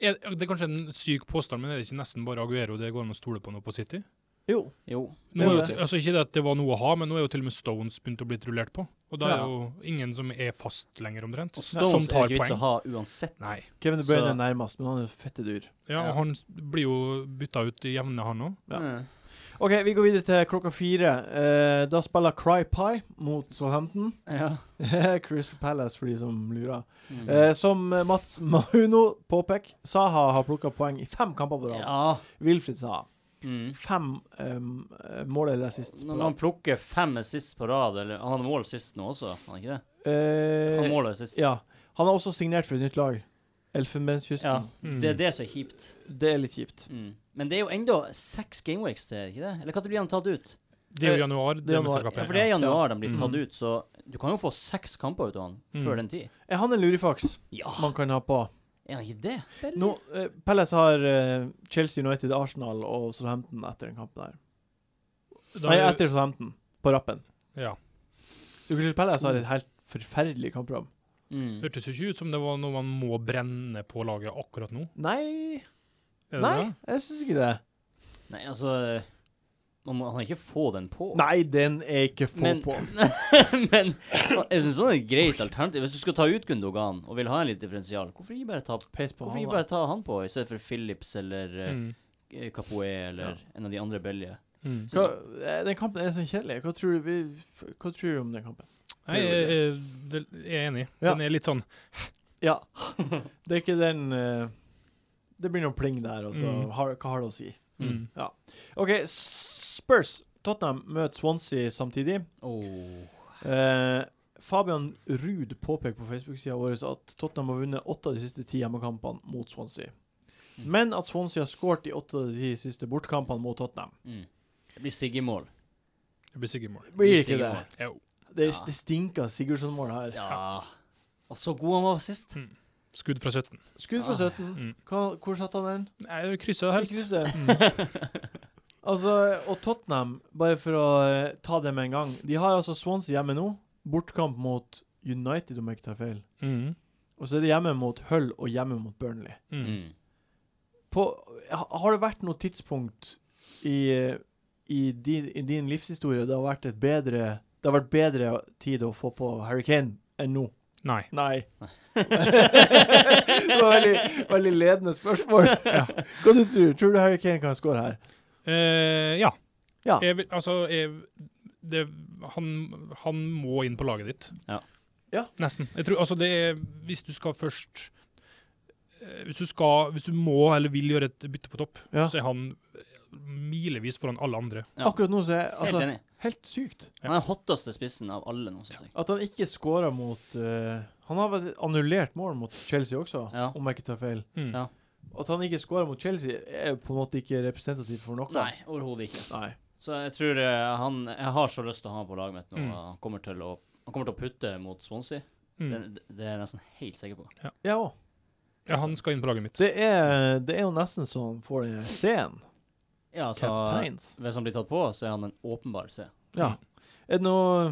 Speaker 4: Er, det er kanskje en syk påstand, men er det ikke nesten bare Aguero det går an å stole på nå på City?
Speaker 1: Jo.
Speaker 2: Jo.
Speaker 4: Nå
Speaker 1: Det
Speaker 4: er
Speaker 1: er
Speaker 4: jo,
Speaker 1: det.
Speaker 4: altså ikke det at det var noe å ha, men nå er jo til og med Stones begynt å bli rullert på. Og da er
Speaker 1: Ja.
Speaker 4: jo ingen som er fast lenger, omtrent.
Speaker 2: Og Stones
Speaker 4: som
Speaker 2: er
Speaker 4: tar
Speaker 2: det ikke vits å
Speaker 4: poeng.
Speaker 2: ha uansett.
Speaker 4: Nei.
Speaker 1: Kevin De Bruyne
Speaker 2: Så-
Speaker 1: er nærmest, men han er fette dyr.
Speaker 4: Ja, og
Speaker 2: Ja.
Speaker 4: han s- blir jo bytta ut i jevne, han òg.
Speaker 1: Ja.
Speaker 2: Mm.
Speaker 1: OK, vi går videre til klokka fire. Eh, da spiller Cry Pie mot Southampton. *laughs*
Speaker 2: Ja.
Speaker 1: Crystal Palace, for de som lurer.
Speaker 2: Mm.
Speaker 1: Eh, som Mats Mahuno påpeker, Saha har plukka poeng i fem kamper på rad.
Speaker 2: ja.
Speaker 1: Wilfried Saha.
Speaker 2: Mm.
Speaker 1: Fem um, mål eller assist. på
Speaker 2: Når
Speaker 1: rad.
Speaker 2: han plukker fem sist på rad, eller Han hadde mål sist nå også, han ikke det? Han
Speaker 1: Eh,
Speaker 2: målet sist.
Speaker 1: Ja. Han har også signert for et nytt lag.
Speaker 2: Ja,
Speaker 1: Elfenbenskysten.
Speaker 4: Mm.
Speaker 2: Det er det som er kjipt.
Speaker 1: Det er litt kjipt.
Speaker 2: Mm. Men det er jo enda seks gameweeks til, ikke det? Eller når blir han tatt ut?
Speaker 4: Det er jo januar, det,
Speaker 1: det er januar.
Speaker 4: mesterskapet.
Speaker 2: Ja, for Eh, det er i
Speaker 4: ja.
Speaker 2: januar de blir
Speaker 4: Mm.
Speaker 2: tatt ut, så du kan jo få seks kamper ut av han
Speaker 4: Mm.
Speaker 2: før den tid.
Speaker 1: Er han en lurifaks
Speaker 2: Ja,
Speaker 1: man kan ha på?
Speaker 2: er han ikke det?
Speaker 1: Nå, eh, Palace har eh, Chelsea United, Arsenal og Southampton etter den kampen der.
Speaker 4: Da
Speaker 1: Nei,
Speaker 4: er-
Speaker 1: etter Southampton, på rappen.
Speaker 4: ja.
Speaker 1: Så Crystal Palace har et helt forferdelig kampprogram.
Speaker 2: Mm.
Speaker 4: Hørtes jo ikke ut som det var noe man må brenne på laget akkurat nå.
Speaker 1: Nei,
Speaker 4: Er det
Speaker 1: nei,
Speaker 4: det?
Speaker 1: jeg syns ikke det.
Speaker 2: Nei, altså Man må han kan ikke få den på.
Speaker 1: Nei, den er ikke få
Speaker 2: Men-
Speaker 1: på.
Speaker 2: *laughs* Men jeg syns sånn er et greit alternativ. Hvis du skal ta ut Gundogan og vil ha en litt differensial, hvorfor ikke bare ta,
Speaker 1: Peis på
Speaker 2: hvorfor
Speaker 1: han,
Speaker 2: ikke
Speaker 1: da.
Speaker 2: bare ta han på, i stedet for Phillips eller eh,
Speaker 4: Mm.
Speaker 2: eh, Capoe eller en av de andre belgene?
Speaker 4: Mm.
Speaker 1: Hva, eh, den kampen er så kjedelig. Hva tror du, vi, f- hva tror du om den kampen?
Speaker 4: Nei, jeg, jeg, det- jeg er enig.
Speaker 1: Ja.
Speaker 4: Den er litt sånn
Speaker 1: Ja. *laughs* Det er ikke den eh, Det blir noe pling der, og så
Speaker 4: Mm.
Speaker 1: har, hva har det å si?
Speaker 4: mm.
Speaker 1: OK, Spurs. Tottenham møter Swansea samtidig.
Speaker 2: Åh.
Speaker 1: Eh, Fabian Ruud påpeker på Facebook-sida vår at Tottenham har vunnet åtte av de siste ti hjemmekampene mot Swansea. Men at Swansea har skåret i åtte av de ti siste bortkampene mot Tottenham.
Speaker 2: Mm. Det blir Siggy-mål.
Speaker 4: Det blir sikkert mål.
Speaker 1: Blir ikke det?
Speaker 2: Siggy-mål.
Speaker 4: Jo.
Speaker 1: Det,
Speaker 2: Ja.
Speaker 1: det stinker Sigurdsson-mål her.
Speaker 2: Ja. *laughs* Og så god han var sist.
Speaker 4: Skudd fra 17.
Speaker 1: Skudd
Speaker 2: Ah.
Speaker 1: fra 17.
Speaker 4: Mm.
Speaker 1: Hva, hvor satt han den?
Speaker 4: Nei, krysset helst.
Speaker 1: Krysset. Altså, og Tottenham, bare for å eh, ta det med en gang De har altså Swansea hjemme nå. Bortkamp mot United, om jeg ikke tar feil.
Speaker 4: Mm.
Speaker 1: Og så er det hjemme mot Hull og hjemme mot Burnley.
Speaker 4: Mm.
Speaker 2: Mm.
Speaker 1: På, ha- har det vært noe tidspunkt i, eh, i, din, i din livshistorie det har vært et bedre Det har vært bedre tid å få på Harry Kane enn nå?
Speaker 4: Nei.
Speaker 2: *laughs*
Speaker 1: Nei. det var veldig, veldig ledende spørsmål. Hva du tror du? Tror du Harry Kane kan score her?
Speaker 4: Eh, ja.
Speaker 1: Ja.
Speaker 4: Jeg vil, altså, jeg, det, han, han må inn på laget ditt.
Speaker 2: Ja.
Speaker 1: Ja.
Speaker 4: Nesten. Jeg tror, altså, det er, hvis du skal først eh, hvis du, skal, hvis du må eller vil gjøre et bytte på topp,
Speaker 1: Ja.
Speaker 4: så er han eh, milevis foran alle andre.
Speaker 2: Ja.
Speaker 1: Akkurat nå så er
Speaker 2: Helt
Speaker 1: altså,
Speaker 2: enig.
Speaker 1: Helt sykt.
Speaker 4: Ja.
Speaker 2: Han er den hotteste spissen av alle nå, synes jeg.
Speaker 1: At han ikke skåra mot eh, Han har vel annullert mål mot Chelsea også,
Speaker 2: Ja.
Speaker 1: om jeg ikke tar feil.
Speaker 4: Mm.
Speaker 2: Ja.
Speaker 1: At han ikke skåra mot Chelsea, er på en måte ikke representativt for noe.
Speaker 2: Nei, overhodet ikke.
Speaker 1: Nei.
Speaker 2: Så jeg tror eh, han Jeg har så lyst til å ha han på laget mitt nå.
Speaker 4: Mm.
Speaker 2: Han, kommer til å, han kommer til å putte mot Swansea. Det,
Speaker 4: Mm.
Speaker 2: det er jeg nesten helt sikker på.
Speaker 1: Ja òg.
Speaker 4: Ja, han skal inn på laget mitt.
Speaker 1: Det, er- det er jo nesten så han får den C-en.
Speaker 2: Ja, altså
Speaker 1: Kapteins.
Speaker 2: Hvis han blir tatt på, så er han en åpenbar C.
Speaker 1: Ja. Er det noe er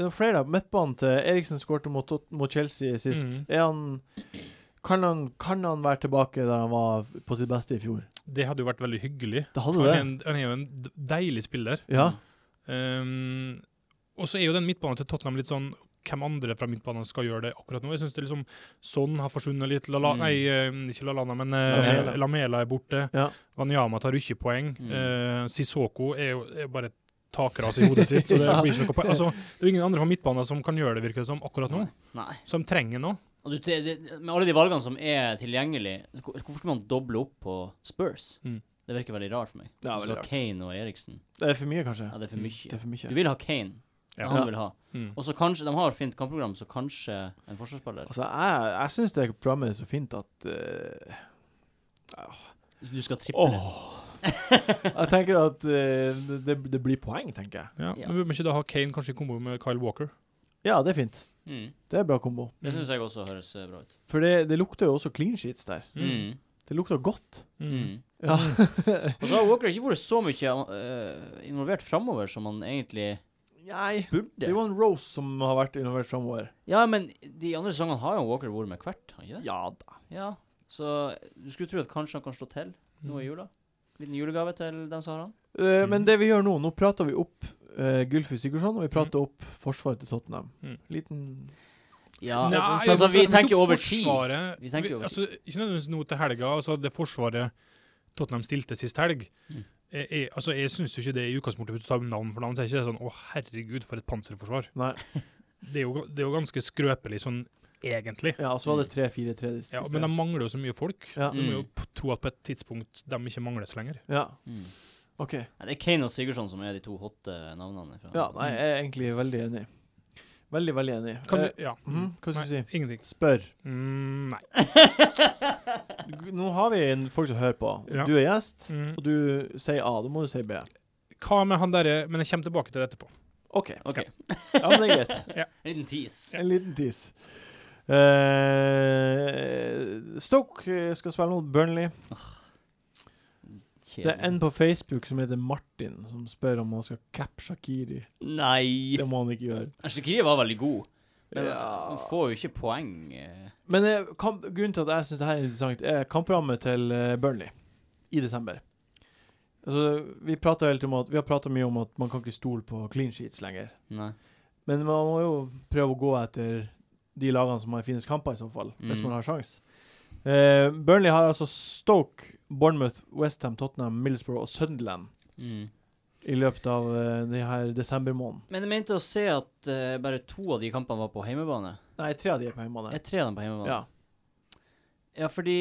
Speaker 1: det noe flere da? Midtbanen til Eriksen skårte mot, Tot- mot Chelsea sist.
Speaker 4: Mhm.
Speaker 1: Er han kan, han kan han være tilbake der han var på sitt beste i fjor?
Speaker 4: Det hadde jo vært veldig hyggelig.
Speaker 1: Det hadde
Speaker 4: Han er,
Speaker 1: det.
Speaker 4: en, han er jo en d- deilig spiller.
Speaker 1: Ja.
Speaker 4: Um, og så er jo den midtbanen til Tottenham litt sånn hvem andre fra midtbanen skal gjøre det akkurat nå? Jeg synes det er liksom Sånn har forsvunnet litt. Lala,
Speaker 2: Mm.
Speaker 4: Nei, eh, ikke Lalana, men eh,
Speaker 1: Lamela.
Speaker 4: Lamela er borte.
Speaker 1: Ja.
Speaker 4: Wanyama tar ikke poeng.
Speaker 2: Mm.
Speaker 4: Eh, Sissoko er jo er jo bare et takras i hodet sitt, så det
Speaker 1: Ja.
Speaker 4: blir ikke noe poeng. Altså, det er jo ingen andre fra midtbanen som kan gjøre det, virker det som, akkurat nå.
Speaker 2: Nei.
Speaker 4: Som trenger noe.
Speaker 2: Og du, det, det, med alle de valgene som er tilgjengelig, hvor- hvorfor skal man doble opp på Spurs?
Speaker 4: Mm.
Speaker 2: Det virker veldig rart for meg.
Speaker 1: Ja,
Speaker 2: Så
Speaker 1: veldig
Speaker 2: du har
Speaker 1: rart.
Speaker 2: Kane og Eriksen.
Speaker 1: Det er for mye, kanskje.
Speaker 2: Ja, det er for
Speaker 4: Mm.
Speaker 1: Det
Speaker 2: mye.
Speaker 1: er for mye.
Speaker 2: Du vil ha Kane.
Speaker 4: Ja.
Speaker 2: Ja. Han
Speaker 1: Ja.
Speaker 2: vil ha.
Speaker 4: Mm.
Speaker 2: Og så kanskje, De har et fint kampprogram, så kanskje en forsvarsspiller
Speaker 1: Altså, jeg, jeg syns det programmet er så fint at eh,
Speaker 2: Du skal triple.
Speaker 1: Åh! Jeg tenker at eh, det, det blir poeng, tenker jeg.
Speaker 4: Ja.
Speaker 2: Ja.
Speaker 4: Men burde man ikke da ha Kane kanskje i kombo med Kyle Walker?
Speaker 1: Ja, det er fint.
Speaker 2: Mm.
Speaker 1: Det er bra kombo.
Speaker 2: Det syns jeg også høres eh, bra ut.
Speaker 1: For det, det lukter jo også clean sheets der. Det lukter godt.
Speaker 2: Mm.
Speaker 4: Mm.
Speaker 2: Mm.
Speaker 1: Mm. Ja.
Speaker 2: *laughs* Og så har Walker ikke vært så mye eh, involvert framover som han egentlig
Speaker 1: Nei. Det
Speaker 2: burde.
Speaker 1: er jo en Rose som har vært involvert framover.
Speaker 2: Ja, men de andre sesongene har jo Walker vært med hvert, har han ikke det?
Speaker 1: Ja da.
Speaker 2: Ja. Så du skulle tro at kanskje han kan slå til nå
Speaker 1: Mm.
Speaker 2: i jula? Liten julegave til dem som har han?
Speaker 1: Eh, Men
Speaker 4: Mm.
Speaker 1: det vi gjør nå, nå prater vi opp uh, Gylfi Sigurdsson, og vi prater opp forsvaret til Tottenham.
Speaker 4: Mm.
Speaker 1: Liten
Speaker 2: Ja,
Speaker 4: Nei,
Speaker 2: altså, vi
Speaker 4: men så-
Speaker 2: tenker
Speaker 4: så
Speaker 2: over tid.
Speaker 4: forsvaret-
Speaker 2: Vi tenker
Speaker 4: vi-
Speaker 2: over
Speaker 4: altså, Ikke nødvendigvis nå til helga, altså det forsvaret Tottenham stilte sist helg.
Speaker 2: Mm.
Speaker 4: Jeg, jeg, altså, jeg syns jo ikke det i utgangspunktet, hvis du tar navn for navn, så er ikke det sånn å herregud, for et panserforsvar.
Speaker 1: Nei.
Speaker 4: Det er jo, det er jo ganske skrøpelig sånn egentlig.
Speaker 1: Ja, og så var det 3-4-3. de
Speaker 4: Ja,
Speaker 1: siste.
Speaker 4: men de mangler jo så mye folk.
Speaker 1: ja.
Speaker 4: Du må jo
Speaker 2: Mm.
Speaker 4: p- tro at på et tidspunkt de ikke mangles lenger.
Speaker 1: ja.
Speaker 2: Mm.
Speaker 1: OK.
Speaker 2: Nei, Det er Kane og Sigurdsson som er de to hotte navnene. Fra.
Speaker 1: Ja, nei, jeg er egentlig veldig enig. Veldig, veldig enig.
Speaker 4: Mm. Kan
Speaker 1: Eh,
Speaker 4: du Ja.
Speaker 1: mhm, hva skal
Speaker 4: Nei,
Speaker 1: du si?
Speaker 4: Ingenting.
Speaker 1: Spør.
Speaker 4: Mm, nei.
Speaker 1: Nå har vi en folk som hører på.
Speaker 4: Ja.
Speaker 1: Du er gjest,
Speaker 4: Mm.
Speaker 1: og du sier A. Da må du si B.
Speaker 4: Hva med han derre Men jeg kommer tilbake til det etterpå.
Speaker 1: OK.
Speaker 2: OK.
Speaker 1: Ja, men det er greit.
Speaker 2: En liten tease.
Speaker 1: En liten tis. Eh, Stoke eh, skal spille mot Burnley. Det er en på Facebook som heter Martin, som spør om han skal cappe Shakiri.
Speaker 2: Nei!
Speaker 1: Det må han ikke gjøre.
Speaker 2: Shakiri var veldig god, men
Speaker 1: Ja.
Speaker 2: han får jo ikke poeng. eh.
Speaker 1: Men eh, kamp, grunnen til at jeg syns det her er interessant, er kampprogrammet til eh, Burnley i desember. Altså, vi, prater helt om at, vi har prata mye om at man kan ikke stole på clean sheets lenger.
Speaker 2: Nei.
Speaker 1: Men man må jo prøve å gå etter de lagene som har finest kamper, i så fall. Hvis
Speaker 2: Mm.
Speaker 1: man har sjans. Eh, Burnley har altså Stoke, Bournemouth, Westham, Tottenham, Middlesbrough og Sunderland
Speaker 2: Mm.
Speaker 1: i løpet av eh, de her desembermåneden.
Speaker 2: Men jeg mente å se at eh, bare to av de kampene var på hjemmebane.
Speaker 1: Nei, tre av de er på hjemmebane.
Speaker 2: Er tre av dem på hjemmebane?
Speaker 1: Ja.
Speaker 2: Ja, fordi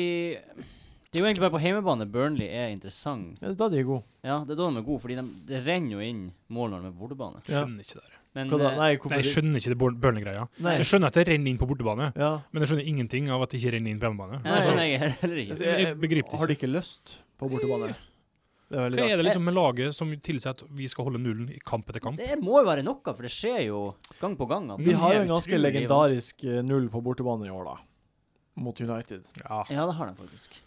Speaker 2: Det er jo egentlig bare på hjemmebane Burnley er interessant.
Speaker 1: ja, da de er gode.
Speaker 2: Ja, det er da de er gode, fordi de, det renner jo inn mål når de er på bortebane.
Speaker 1: Ja.
Speaker 4: Skjønner ikke det. der.
Speaker 2: Men
Speaker 1: Hva da?
Speaker 2: eh,
Speaker 1: Nei,
Speaker 4: Nei,
Speaker 1: hvorfor
Speaker 4: jeg skjønner ikke det Bur- Burnley-greia.
Speaker 1: Nei.
Speaker 4: Jeg skjønner at det renner inn på bortebane,
Speaker 1: Ja.
Speaker 4: men jeg skjønner ingenting av at det ikke renner inn på hjemmebane.
Speaker 2: ja, det skjønner jeg heller ikke.
Speaker 4: jeg- jeg begriper det
Speaker 1: Har de ikke lyst på bortebane? Det er veldig
Speaker 4: Hva er
Speaker 1: rart.
Speaker 4: det liksom med laget som tilsier at vi skal holde nullen i kamp etter kamp?
Speaker 2: Det må jo være noe, for det skjer jo gang på gang. at
Speaker 1: De
Speaker 2: det
Speaker 1: har
Speaker 2: er
Speaker 1: jo en ganske
Speaker 2: utrolig vanskelig.
Speaker 1: legendarisk eh, null på bortebane i år, da. Mot United.
Speaker 4: Ja.
Speaker 2: Ja, det har de faktisk.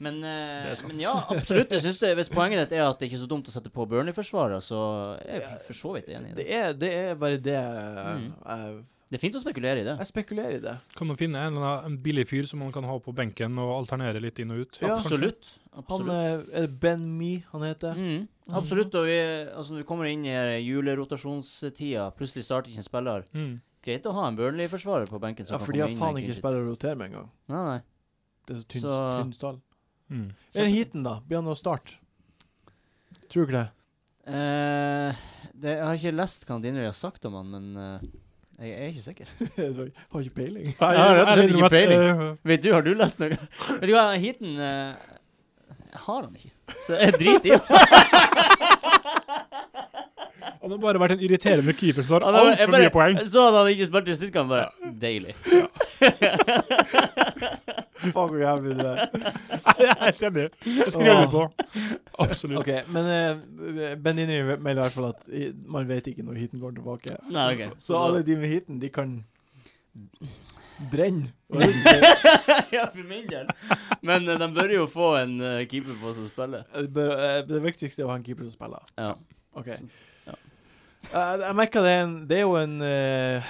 Speaker 2: Men, eh,
Speaker 4: Det er sant.
Speaker 2: men ja, absolutt. Jeg synes det, Hvis poenget ditt er at det ikke er så dumt å sette på Burnley-forsvarer, så er jeg for- for så vidt enig i
Speaker 1: Det
Speaker 2: det.
Speaker 1: er, det er bare det eh, jeg,
Speaker 2: Det er fint å spekulere i det.
Speaker 1: jeg spekulerer i det.
Speaker 4: Kan man finne en, eller annen- en billig fyr som man kan ha på benken og alternere litt inn og ut?
Speaker 1: Ja.
Speaker 2: Absolutt.
Speaker 1: Han
Speaker 2: absolutt.
Speaker 1: eh, er det Ben Me han heter.
Speaker 2: Mm, absolutt. Og vi, altså, når vi kommer inn i her julerotasjonstida, plutselig starter ikke en spiller.
Speaker 4: Mm.
Speaker 2: Greit å ha en Burnley-forsvarer på benken. som
Speaker 1: Ja,
Speaker 2: kan
Speaker 1: for de har
Speaker 2: komme inn
Speaker 1: faen
Speaker 2: med
Speaker 1: ikke
Speaker 2: clean sheet.
Speaker 1: spillere å rotere med engang.
Speaker 2: Nei, nei.
Speaker 1: Det er så tynn,
Speaker 2: Så-
Speaker 1: tynn stall.
Speaker 4: Mm.
Speaker 1: Eller heaten, da. Blir han å starte? Tror du ikke det?
Speaker 2: Eh, det, jeg har ikke lest hva Dinnery har sagt om han, men eh, jeg, jeg er ikke sikker.
Speaker 1: Jeg har ikke peiling.
Speaker 2: Jeg har rett og slett ikke peiling.
Speaker 4: Eh,
Speaker 2: Vet du, har du lest noe? Vet du hva, heaten eh, har han ikke. Så jeg driter i det.
Speaker 4: Han har bare vært en irriterende keeper som tar
Speaker 2: Han har- jeg
Speaker 4: altfor mye
Speaker 2: bare-
Speaker 4: poeng.
Speaker 2: Så hadde han ikke spilt i sist kamp, bare Deilig.
Speaker 1: *laughs*
Speaker 2: *laughs*
Speaker 1: Faen, hvor jævlig du er.
Speaker 4: Jeg er helt enig. Jeg skriver under på. Absolutt.
Speaker 1: OK, men eh, Ben Inri melder i hvert fall at i- man vet ikke når heaten går tilbake.
Speaker 2: Nei, ok.
Speaker 1: Så alle de med heaten, de kan brenne.
Speaker 2: Ja, for min del. Men eh, de bør jo få en eh, keeper på som spiller.
Speaker 1: Det bør- eh, det viktigste er å ha en keeper som spiller.
Speaker 2: Ja.
Speaker 1: OK.
Speaker 2: Så- ja.
Speaker 1: Eh, jeg merker det er en Det er jo en eh,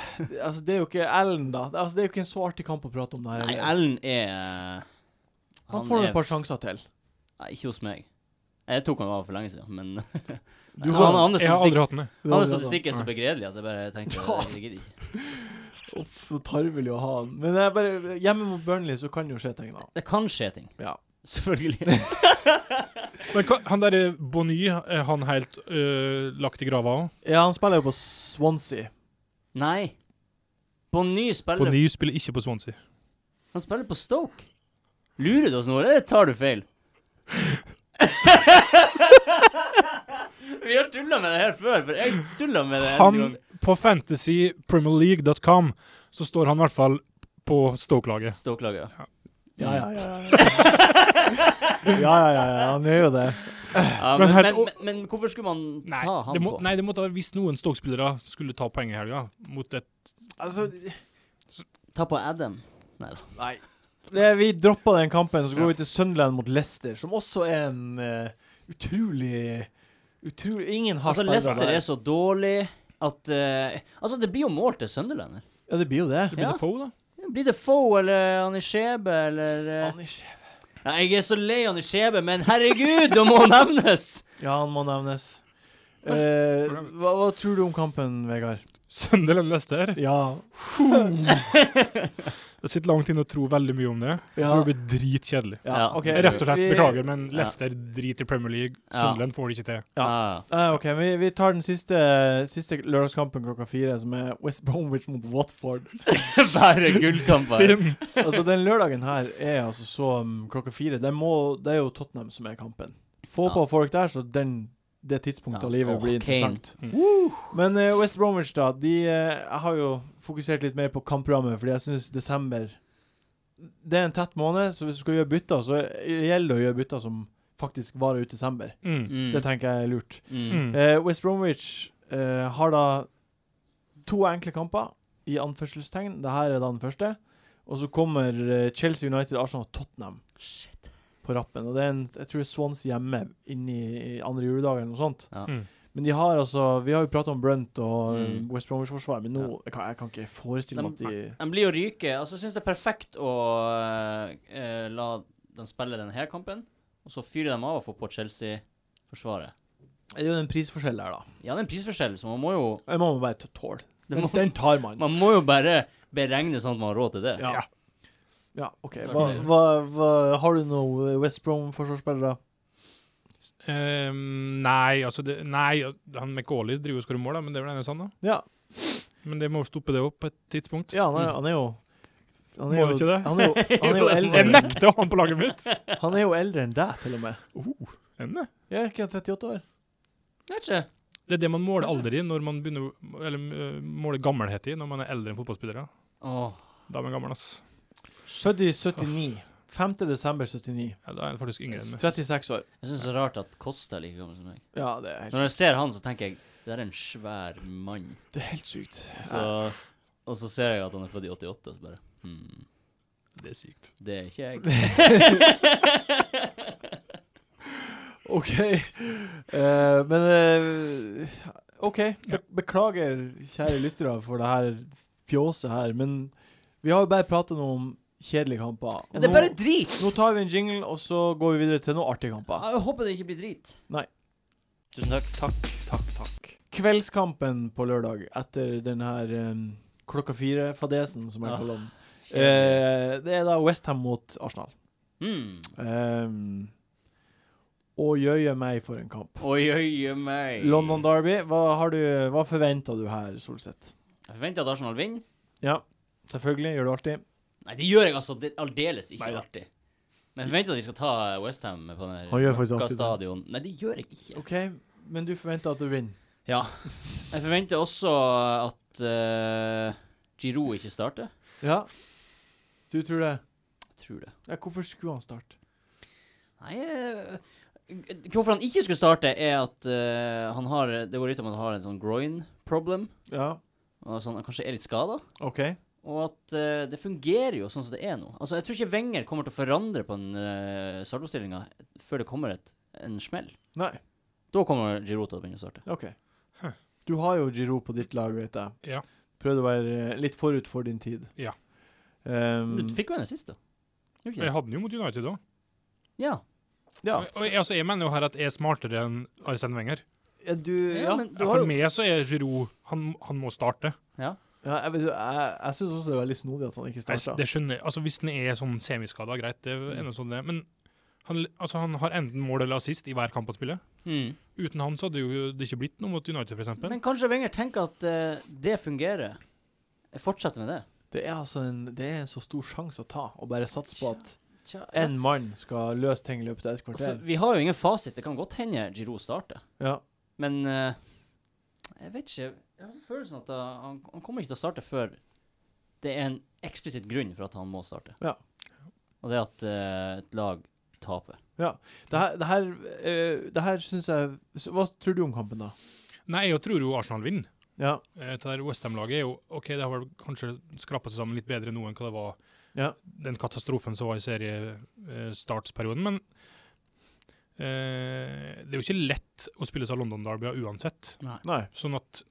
Speaker 1: Altså, det er jo ikke Ellen, da. Altså, det er jo ikke en så artig kamp å prate om. Det her.
Speaker 2: Nei, Ellen er eh,
Speaker 1: han får
Speaker 2: er
Speaker 1: et par sjanser til.
Speaker 2: Nei, ikke hos meg. Jeg tok han av for lenge siden, men
Speaker 1: Du
Speaker 2: *laughs* han, han,
Speaker 4: Jeg har aldri hatt den, jeg.
Speaker 2: Hans statistikk er så begredelig at jeg bare tenkte
Speaker 1: Ja.
Speaker 2: jeg gidder ikke.
Speaker 1: Uff, så tarvelig å ha han. Men jeg bare, hjemme mot Burnley så kan jo skje ting, da.
Speaker 2: Det kan skje ting.
Speaker 1: Ja.
Speaker 2: *laughs* Selvfølgelig.
Speaker 4: Men hva- han derre Bonny, er han helt øh, lagt i grava òg?
Speaker 1: ja, han spiller jo på Swansea.
Speaker 2: Nei. På ny spiller
Speaker 4: Bonny spiller ikke på Swansea.
Speaker 2: Han spiller på Stoke. Lurer du oss nå, eller tar du feil? Vi har tulla med det her før, for jeg tulla med det en gang.
Speaker 4: Han På fantasypremierleague.com så står han i hvert fall på Stoke-laget.
Speaker 2: Stoke-laget.
Speaker 1: Ja, ja, ja. Ja, *laughs* ja, ja, ja, ja han gjør jo det.
Speaker 2: Ja,
Speaker 4: Men
Speaker 2: men,
Speaker 4: her-
Speaker 2: men, men, men hvorfor skulle man
Speaker 4: Nei,
Speaker 2: ta han
Speaker 4: det må,
Speaker 2: på?
Speaker 4: nei, det måtte være hvis noen Stoke-spillere skulle ta poeng i helga mot et
Speaker 1: Altså,
Speaker 2: Ta på Adam? Nei da.
Speaker 1: nei. Det, vi droppa den kampen, så går vi til Sunderland mot Leicester, som også er en eh, utrolig Utrolig Ingen har
Speaker 2: Altså,
Speaker 1: spillere
Speaker 2: Leicester
Speaker 1: der.
Speaker 2: er så dårlig at eh, Altså, det blir jo mål til Sunderland her.
Speaker 1: Ja, det blir jo det.
Speaker 4: Det blir
Speaker 2: Ja.
Speaker 4: det Foe, da.
Speaker 2: Blir det Foe eller Anishebe eller eh,
Speaker 1: Han er ikke-
Speaker 2: Ja, jeg er så lei Anishebe, men herregud, det må *laughs* nevnes!
Speaker 1: Ja, han må nevnes. Eh, hva, hva tror du om kampen, Vegard?
Speaker 4: Sunderland Leicester.
Speaker 1: Ja.
Speaker 4: Det sitter langt inne å tro veldig mye om det. Jeg
Speaker 1: Ja.
Speaker 4: tror det blir dritkjedelig.
Speaker 2: Ja,
Speaker 1: ok.
Speaker 4: Rett og slett,
Speaker 1: Vi-
Speaker 4: beklager, men
Speaker 2: Ja.
Speaker 4: Leicester driter i Premier League.
Speaker 2: Ja.
Speaker 4: Sunderland får det ikke til.
Speaker 1: Ja.
Speaker 2: Ah. *laughs*
Speaker 1: Eh, OK, vi, vi tar den siste, siste lørdagskampen klokka fire, som er West Bromwich mot Watford.
Speaker 2: Bare gullkamper.
Speaker 4: Din.
Speaker 1: altså, den lørdagen her er altså så um, klokka fire. Det, må, det er jo Tottenham som er kampen. Få
Speaker 2: Ja.
Speaker 1: på folk der, så den, det tidspunktet
Speaker 2: Ja,
Speaker 1: av livet
Speaker 2: åh,
Speaker 1: blir
Speaker 2: Kane.
Speaker 1: interessant.
Speaker 4: Mm.
Speaker 1: Woo! Men eh, West Bromwich, da. De, eh, jeg har jo fokusert litt mer på kampprogrammet, fordi jeg syns desember Det er en tett måned, så hvis du skal gjøre bytter, så gjelder det å gjøre bytter som faktisk varer ut desember.
Speaker 4: Mm.
Speaker 2: Mm.
Speaker 1: Det tenker jeg er lurt.
Speaker 2: Mm.
Speaker 4: Mm.
Speaker 1: Eh, West Bromwich eh, har da to enkle kamper, i anførselstegn. Dette er da den første. Og så kommer eh, Chelsea United, Arsenal og Tottenham
Speaker 2: Shit.
Speaker 1: på rappen. Og det er en, jeg tror det er Swans hjemme inn i i andre juledag eller noe sånt.
Speaker 2: Ja.
Speaker 4: Mm.
Speaker 1: Men de har altså Vi har jo prata om Brunt og eh,
Speaker 2: Mm.
Speaker 1: West Bromwich-forsvaret, men nå jeg, kan, jeg kan ikke forestille meg at de
Speaker 2: De blir jo ryke. Altså, jeg syns det er perfekt å eh, la dem spille denne her kampen, og så fyrer de av og får på Chelsea-forsvaret.
Speaker 1: Det er jo en prisforskjell der, da.
Speaker 2: Ja, det er en prisforskjell, så man må jo
Speaker 1: Det må man bare t- tåle.
Speaker 2: det må,
Speaker 1: Den tar man.
Speaker 2: Man må jo bare beregne sånn at man har råd til det.
Speaker 1: Ja. ja, OK.
Speaker 2: Så er
Speaker 1: Hva,
Speaker 2: det-
Speaker 1: hva, hva, har du noen West Brom-forsvarsspillere?
Speaker 4: Ehm, nei, altså det, Nei, han McAuley driver og skårer mål, da, men det er vel ene sånn, da.
Speaker 1: Ja,
Speaker 4: Men det må stoppe det opp på et tidspunkt.
Speaker 1: Ja, han er, han er jo han
Speaker 4: Må
Speaker 1: jo,
Speaker 4: vi ikke det?
Speaker 2: *laughs*
Speaker 1: Han er jo, han er jo eldre,
Speaker 4: Jeg
Speaker 1: enn-
Speaker 4: nekter å ha han på laget mitt!
Speaker 1: han er jo eldre enn deg, til og med.
Speaker 4: Oh, enn det.
Speaker 1: Jeg er ikke han 38 år.
Speaker 2: Vet ikke.
Speaker 4: det er det man måler alder i, når man begynner, å- eller øh, måler gammelhet i, når man er eldre enn fotballspillere.
Speaker 2: Åh.
Speaker 4: Da er man gammel, ass.
Speaker 1: Født i 79. 5. desember 79.
Speaker 4: Ja, da er han faktisk yngre enn meg.
Speaker 1: 36 år.
Speaker 2: Jeg syns det er rart at Kosta er like gammel som meg.
Speaker 1: Ja, det er helt,
Speaker 2: Når jeg ser han, så tenker jeg det er en svær mann.
Speaker 1: sykt. det er helt sykt.
Speaker 2: Så, og så ser jeg at han er født i 88, og så bare hmm.
Speaker 4: det er sykt.
Speaker 2: Det er ikke jeg.
Speaker 1: OK. Eh, men eh, OK. Be beklager, kjære lyttere, for det her fjåset her, men vi har jo bare prata noe om kjedelige kamper. Og
Speaker 2: Ja, det er
Speaker 1: nå-
Speaker 2: bare drit!
Speaker 1: Nå tar vi en jingle, og så går vi videre til noen artige kamper.
Speaker 2: Jeg håper det ikke blir drit.
Speaker 1: Nei.
Speaker 2: Tusen takk. Takk, takk, takk.
Speaker 1: Kveldskampen på lørdag etter den her eh, klokka fire-fadesen, som jeg
Speaker 2: Ah,
Speaker 1: kaller den. Eh, det er da Westham mot Arsenal.
Speaker 2: Hmm.
Speaker 1: Um, og jøye meg for en kamp.
Speaker 2: Oi, oi, meg.
Speaker 1: London Derby, hva, har du, hva forventa du her, Solseth?
Speaker 2: Jeg forventer at Arsenal vinner.
Speaker 1: Ja, selvfølgelig gjør du alltid.
Speaker 2: Nei, det gjør jeg altså det- aldeles ikke
Speaker 1: Neida.
Speaker 2: alltid. Men jeg forventer at de skal ta Westham på den her
Speaker 1: Han gjør faktisk
Speaker 2: mørka
Speaker 1: alltid det.
Speaker 2: stadion. Nei, det gjør jeg ikke.
Speaker 1: OK, men du forventer at du vinner.
Speaker 2: Ja. Jeg forventer også at uh, Giroud ikke starter.
Speaker 1: Ja. Du tror det?
Speaker 2: Jeg tror det.
Speaker 1: Ja, hvorfor skulle han starte?
Speaker 2: Nei eh, Hvorfor han ikke skulle starte, er at eh, han har Det går ut om at han har en sånn groin problem.
Speaker 1: Ja,
Speaker 2: Og sånn, han kanskje er litt skada.
Speaker 1: OK.
Speaker 2: Og at eh, det fungerer jo sånn som det er nå. Altså, Jeg tror ikke Wenger kommer til å forandre på den uh, startoppstillinga før det kommer et, en smell.
Speaker 1: Nei,
Speaker 2: Da kommer Giroud til å begynne å starte.
Speaker 1: OK. Du har jo Giroud på ditt lag, vet jeg.
Speaker 4: Ja.
Speaker 1: Prøvde å være eh, litt forut for din tid.
Speaker 4: Ja.
Speaker 1: Um,
Speaker 2: Du fikk jo en assist, da. Mm. Gjorde
Speaker 4: Jeg
Speaker 2: ikke det?
Speaker 4: hadde den jo mot United òg.
Speaker 2: Ja.
Speaker 1: ja.
Speaker 4: Og jeg, altså, jeg mener jo her at jeg er smartere enn Arsene Wenger.
Speaker 1: ja, du
Speaker 2: ja,
Speaker 1: Ja.
Speaker 2: men du
Speaker 4: Ja,
Speaker 2: har
Speaker 4: for
Speaker 2: jo
Speaker 4: meg så er Giroud han, han må starte.
Speaker 2: ja.
Speaker 1: ja jeg, vet- jeg, jeg syns også det er veldig snodig at han ikke
Speaker 4: Nei,
Speaker 1: starta.
Speaker 4: det skjønner jeg. Altså, hvis den er sånn semiskada, greit, det er noe sånn det. Men han, altså, han har enten mål eller assist i hver kamp han spiller.
Speaker 2: Mm.
Speaker 4: Uten han så hadde jo det ikke blitt noe mot United, f.eks.
Speaker 2: Men kanskje Wenger tenker at eh, det fungerer. Jeg fortsetter med det.
Speaker 1: Det er altså en, det er en så stor sjanse å ta, og bare satse på at
Speaker 2: Tja, ja.
Speaker 1: én mann skal løse ting i løpet av et
Speaker 2: altså,
Speaker 1: kvarter.
Speaker 2: vi har jo ingen fasit. Det kan godt hende Giroud starter.
Speaker 1: Ja.
Speaker 2: Men eh, jeg vet ikke. Jeg har følelsen at eh, han, han kommer ikke til å starte før det er en eksplisitt grunn for at han må starte.
Speaker 1: Ja.
Speaker 2: Og det er at eh, et lag taper.
Speaker 1: Det her, det her, eh, det her syns jeg så Hva tror du om kampen, da?
Speaker 4: Nei, jeg tror jo Arsenal vinner.
Speaker 1: Ja.
Speaker 4: Eh, Det der Westham-laget er jo OK, det har vel kanskje skrapa seg sammen litt bedre nå enn hva det var
Speaker 1: Ja.
Speaker 4: den katastrofen som var i seriestartsperioden, men eh, det er jo ikke lett å spille seg London Derby uansett.
Speaker 1: Nei.
Speaker 4: Sånn at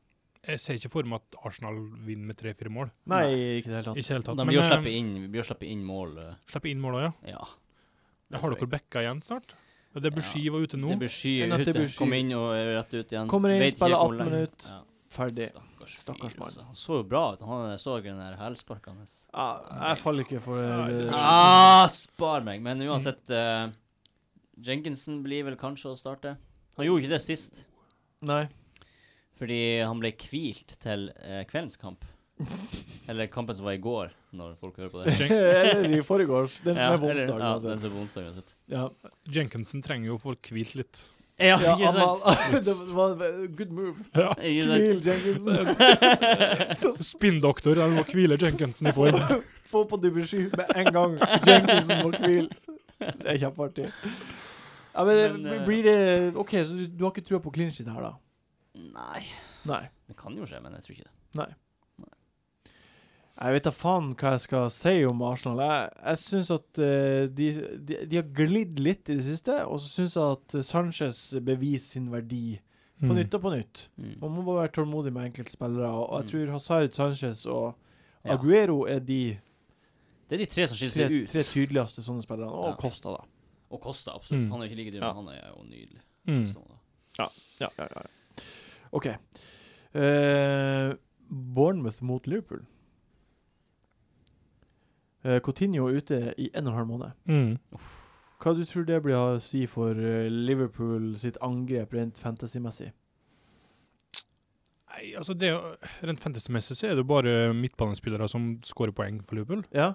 Speaker 4: jeg ser ikke for meg at Arsenal vinner med tre-fire mål.
Speaker 1: Nei, ikke i det hele
Speaker 4: Ikke
Speaker 1: tatt.
Speaker 4: i det hele tatt.
Speaker 2: De blir å
Speaker 4: eh,
Speaker 2: slippe inn, vi blir å slippe inn mål. eh,
Speaker 4: slippe inn måla, ja.
Speaker 2: ja.
Speaker 4: Da har dere backa igjen snart. Og Det er Bushi var ute nå.
Speaker 2: Det blir sky
Speaker 1: Enn at det
Speaker 2: ute.
Speaker 1: blir sky.
Speaker 2: Kom inn og eh, rett ut igjen.
Speaker 1: Kommer inn,
Speaker 2: Vet ikke
Speaker 1: spiller
Speaker 2: hvor
Speaker 1: 18
Speaker 2: lenge-
Speaker 1: minutt.
Speaker 2: Ja.
Speaker 1: Ferdig.
Speaker 2: Stakkars,
Speaker 1: Stakkars
Speaker 2: fyr,
Speaker 1: mann.
Speaker 2: altså. Han så jo bra ut. Han så den der hælsparken hans.
Speaker 1: Ja, jeg faller ikke for eh,
Speaker 2: Ah, spar meg. Men uansett eh, Jenkinson blir vel kanskje å starte. Han gjorde ikke det sist,
Speaker 1: Nei.
Speaker 2: fordi han ble hvilt til eh, kveldens kamp. Eller kampen som var i går, når folk hører på det.
Speaker 1: *laughs* Eller i forgårs. Den som
Speaker 2: Ja,
Speaker 1: er på
Speaker 2: eller-
Speaker 1: onsdag.
Speaker 2: Ja,
Speaker 1: altså.
Speaker 2: den som er på onsdag uansett.
Speaker 1: Ja.
Speaker 4: Jenkinson trenger jo å få hvilt litt.
Speaker 2: Ja,
Speaker 1: Ja,
Speaker 2: ikke sant?
Speaker 1: Amal- *laughs* det var good move.
Speaker 2: Ikke
Speaker 1: Knil
Speaker 2: sant? *laughs*
Speaker 1: Jenkinson.
Speaker 4: Spinndoktor, der må hvile Jenkinson i form.
Speaker 1: Få på Dubbelsky med en gang. Jenkinson må hvile. Det er kjempeartig. Ja, men,
Speaker 2: Men, eh,
Speaker 1: blir det OK, så du, du har ikke trua på clinch her, da?
Speaker 2: Nei.
Speaker 1: Nei.
Speaker 2: Det kan jo skje, men jeg tror ikke det.
Speaker 1: Jeg vet da faen hva jeg skal si om Arsenal. Jeg, jeg syns at eh, de, de, de har glidd litt i det siste, og så syns jeg at Sanchez beviser sin verdi på nytt og på nytt.
Speaker 2: Mm.
Speaker 1: Man må bare være tålmodig med enkeltspillere, og, og jeg
Speaker 2: Mm.
Speaker 1: tror Hazard, Sanchez og
Speaker 2: Ja.
Speaker 1: Aguero er de
Speaker 2: Det er de tre som skiller
Speaker 1: tre,
Speaker 2: seg ut.
Speaker 1: tre tydeligste sånne spillerne. Og
Speaker 2: Ja.
Speaker 1: Costa, da.
Speaker 2: Og Kosta, absolutt.
Speaker 4: Mm.
Speaker 2: Han er jo ikke like dyr,
Speaker 1: Ja.
Speaker 2: men han er jo nydelig.
Speaker 4: Mm.
Speaker 2: Kosta, da.
Speaker 1: Ja, ja, ja. OK. Eh, Bournemouth mot Liverpool. Eh, Coutinho er ute i en og en halv måned.
Speaker 4: Mm.
Speaker 1: Hva du tror det blir å si for eh, Liverpool sitt angrep rent fantasymessig?
Speaker 4: Nei, altså det, er jo- Rent fantasy-messig så er det jo bare midtbanespillere som skårer poeng for Liverpool.
Speaker 1: Ja?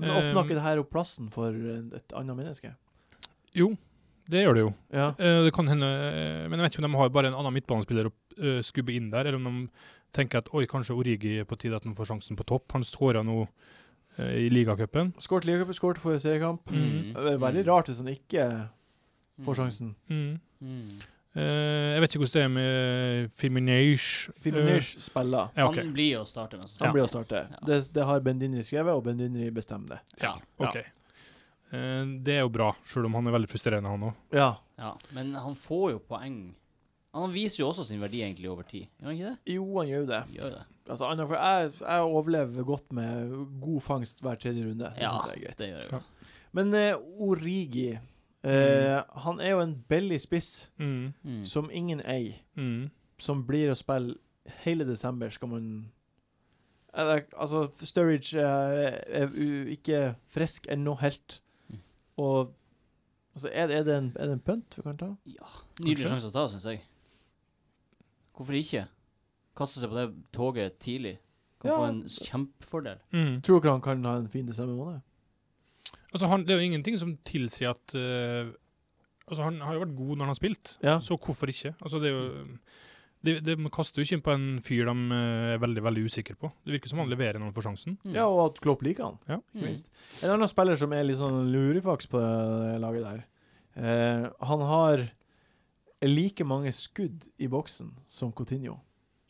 Speaker 1: Men åpner
Speaker 4: Eh,
Speaker 1: ikke det her opp plassen for eh, et annet menneske?
Speaker 4: Jo, det gjør det jo.
Speaker 1: Ja.
Speaker 4: Eh, Det kan hende, eh, Men jeg vet ikke om de har bare en annen midtbanespiller å eh, skubbe inn der, eller om de tenker at oi, kanskje Origi er på tide at han får sjansen på topp. Han skåra nå eh, i ligacupen.
Speaker 1: Skåret ligacup, skåret for seriekamp.
Speaker 4: Mm.
Speaker 1: Det er veldig rart hvis han ikke får sjansen.
Speaker 4: Mm.
Speaker 2: Mm.
Speaker 4: Eh, jeg vet ikke hvordan det er med Fiminesh.
Speaker 1: Fiminish spiller.
Speaker 4: ja, ok.
Speaker 2: Han blir å starte, men så
Speaker 1: Han
Speaker 4: Uh. Ja.
Speaker 1: blir å starte.
Speaker 2: Ja.
Speaker 1: Det, det har Bendinri skrevet, og Bendinri bestemmer det.
Speaker 4: Ja,
Speaker 1: Ja.
Speaker 4: ok. Eh, det er jo bra, sjøl om han er veldig frustrerende, han òg.
Speaker 1: Ja.
Speaker 2: Ja, men han får jo poeng. Han viser jo også sin verdi egentlig over tid, gjør han ikke det?
Speaker 1: Jo, han gjør jo det.
Speaker 2: Gjør det.
Speaker 1: Altså, annet for jeg, jeg overlever godt med god fangst hver tredje runde. Det
Speaker 2: Ja,
Speaker 1: synes jeg er greit.
Speaker 2: det gjør jeg
Speaker 4: Ja.
Speaker 2: jo.
Speaker 1: Men eh, Origi eh, Han er jo en billig spiss
Speaker 4: Mm.
Speaker 2: Mm.
Speaker 1: som ingen eier,
Speaker 4: Mm.
Speaker 1: som blir å spille hele desember, skal man Eller, Altså, Sturridge eh, er u- ikke frisk ennå helt,
Speaker 2: Mm.
Speaker 1: og Altså, er, det- er, det en, er det en punt vi kan ta?
Speaker 2: Nydelig
Speaker 4: Kanskje.
Speaker 2: sjanse å ta, syns jeg. Hvorfor ikke? Kaste seg på det toget tidlig. Kan
Speaker 1: Ja.
Speaker 2: få en kjempefordel.
Speaker 4: Mm.
Speaker 1: Tror dere han kan ha en fin desembermåned?
Speaker 4: Altså, han, det er jo ingenting som tilsier at eh, Altså, han har jo vært god når han har spilt,
Speaker 1: Ja.
Speaker 4: så hvorfor ikke? Altså, det er jo det, det, Man kaster jo ikke inn på en fyr de eh, er veldig veldig usikre på. Det virker som han leverer når han får sjansen.
Speaker 2: Mm.
Speaker 1: Ja, og at Klopp liker han,
Speaker 4: Ja.
Speaker 1: ikke
Speaker 2: Mm.
Speaker 1: minst. En annen spiller som er litt sånn lurifaks på det laget der, eh, han har like mange skudd i boksen som Coutinho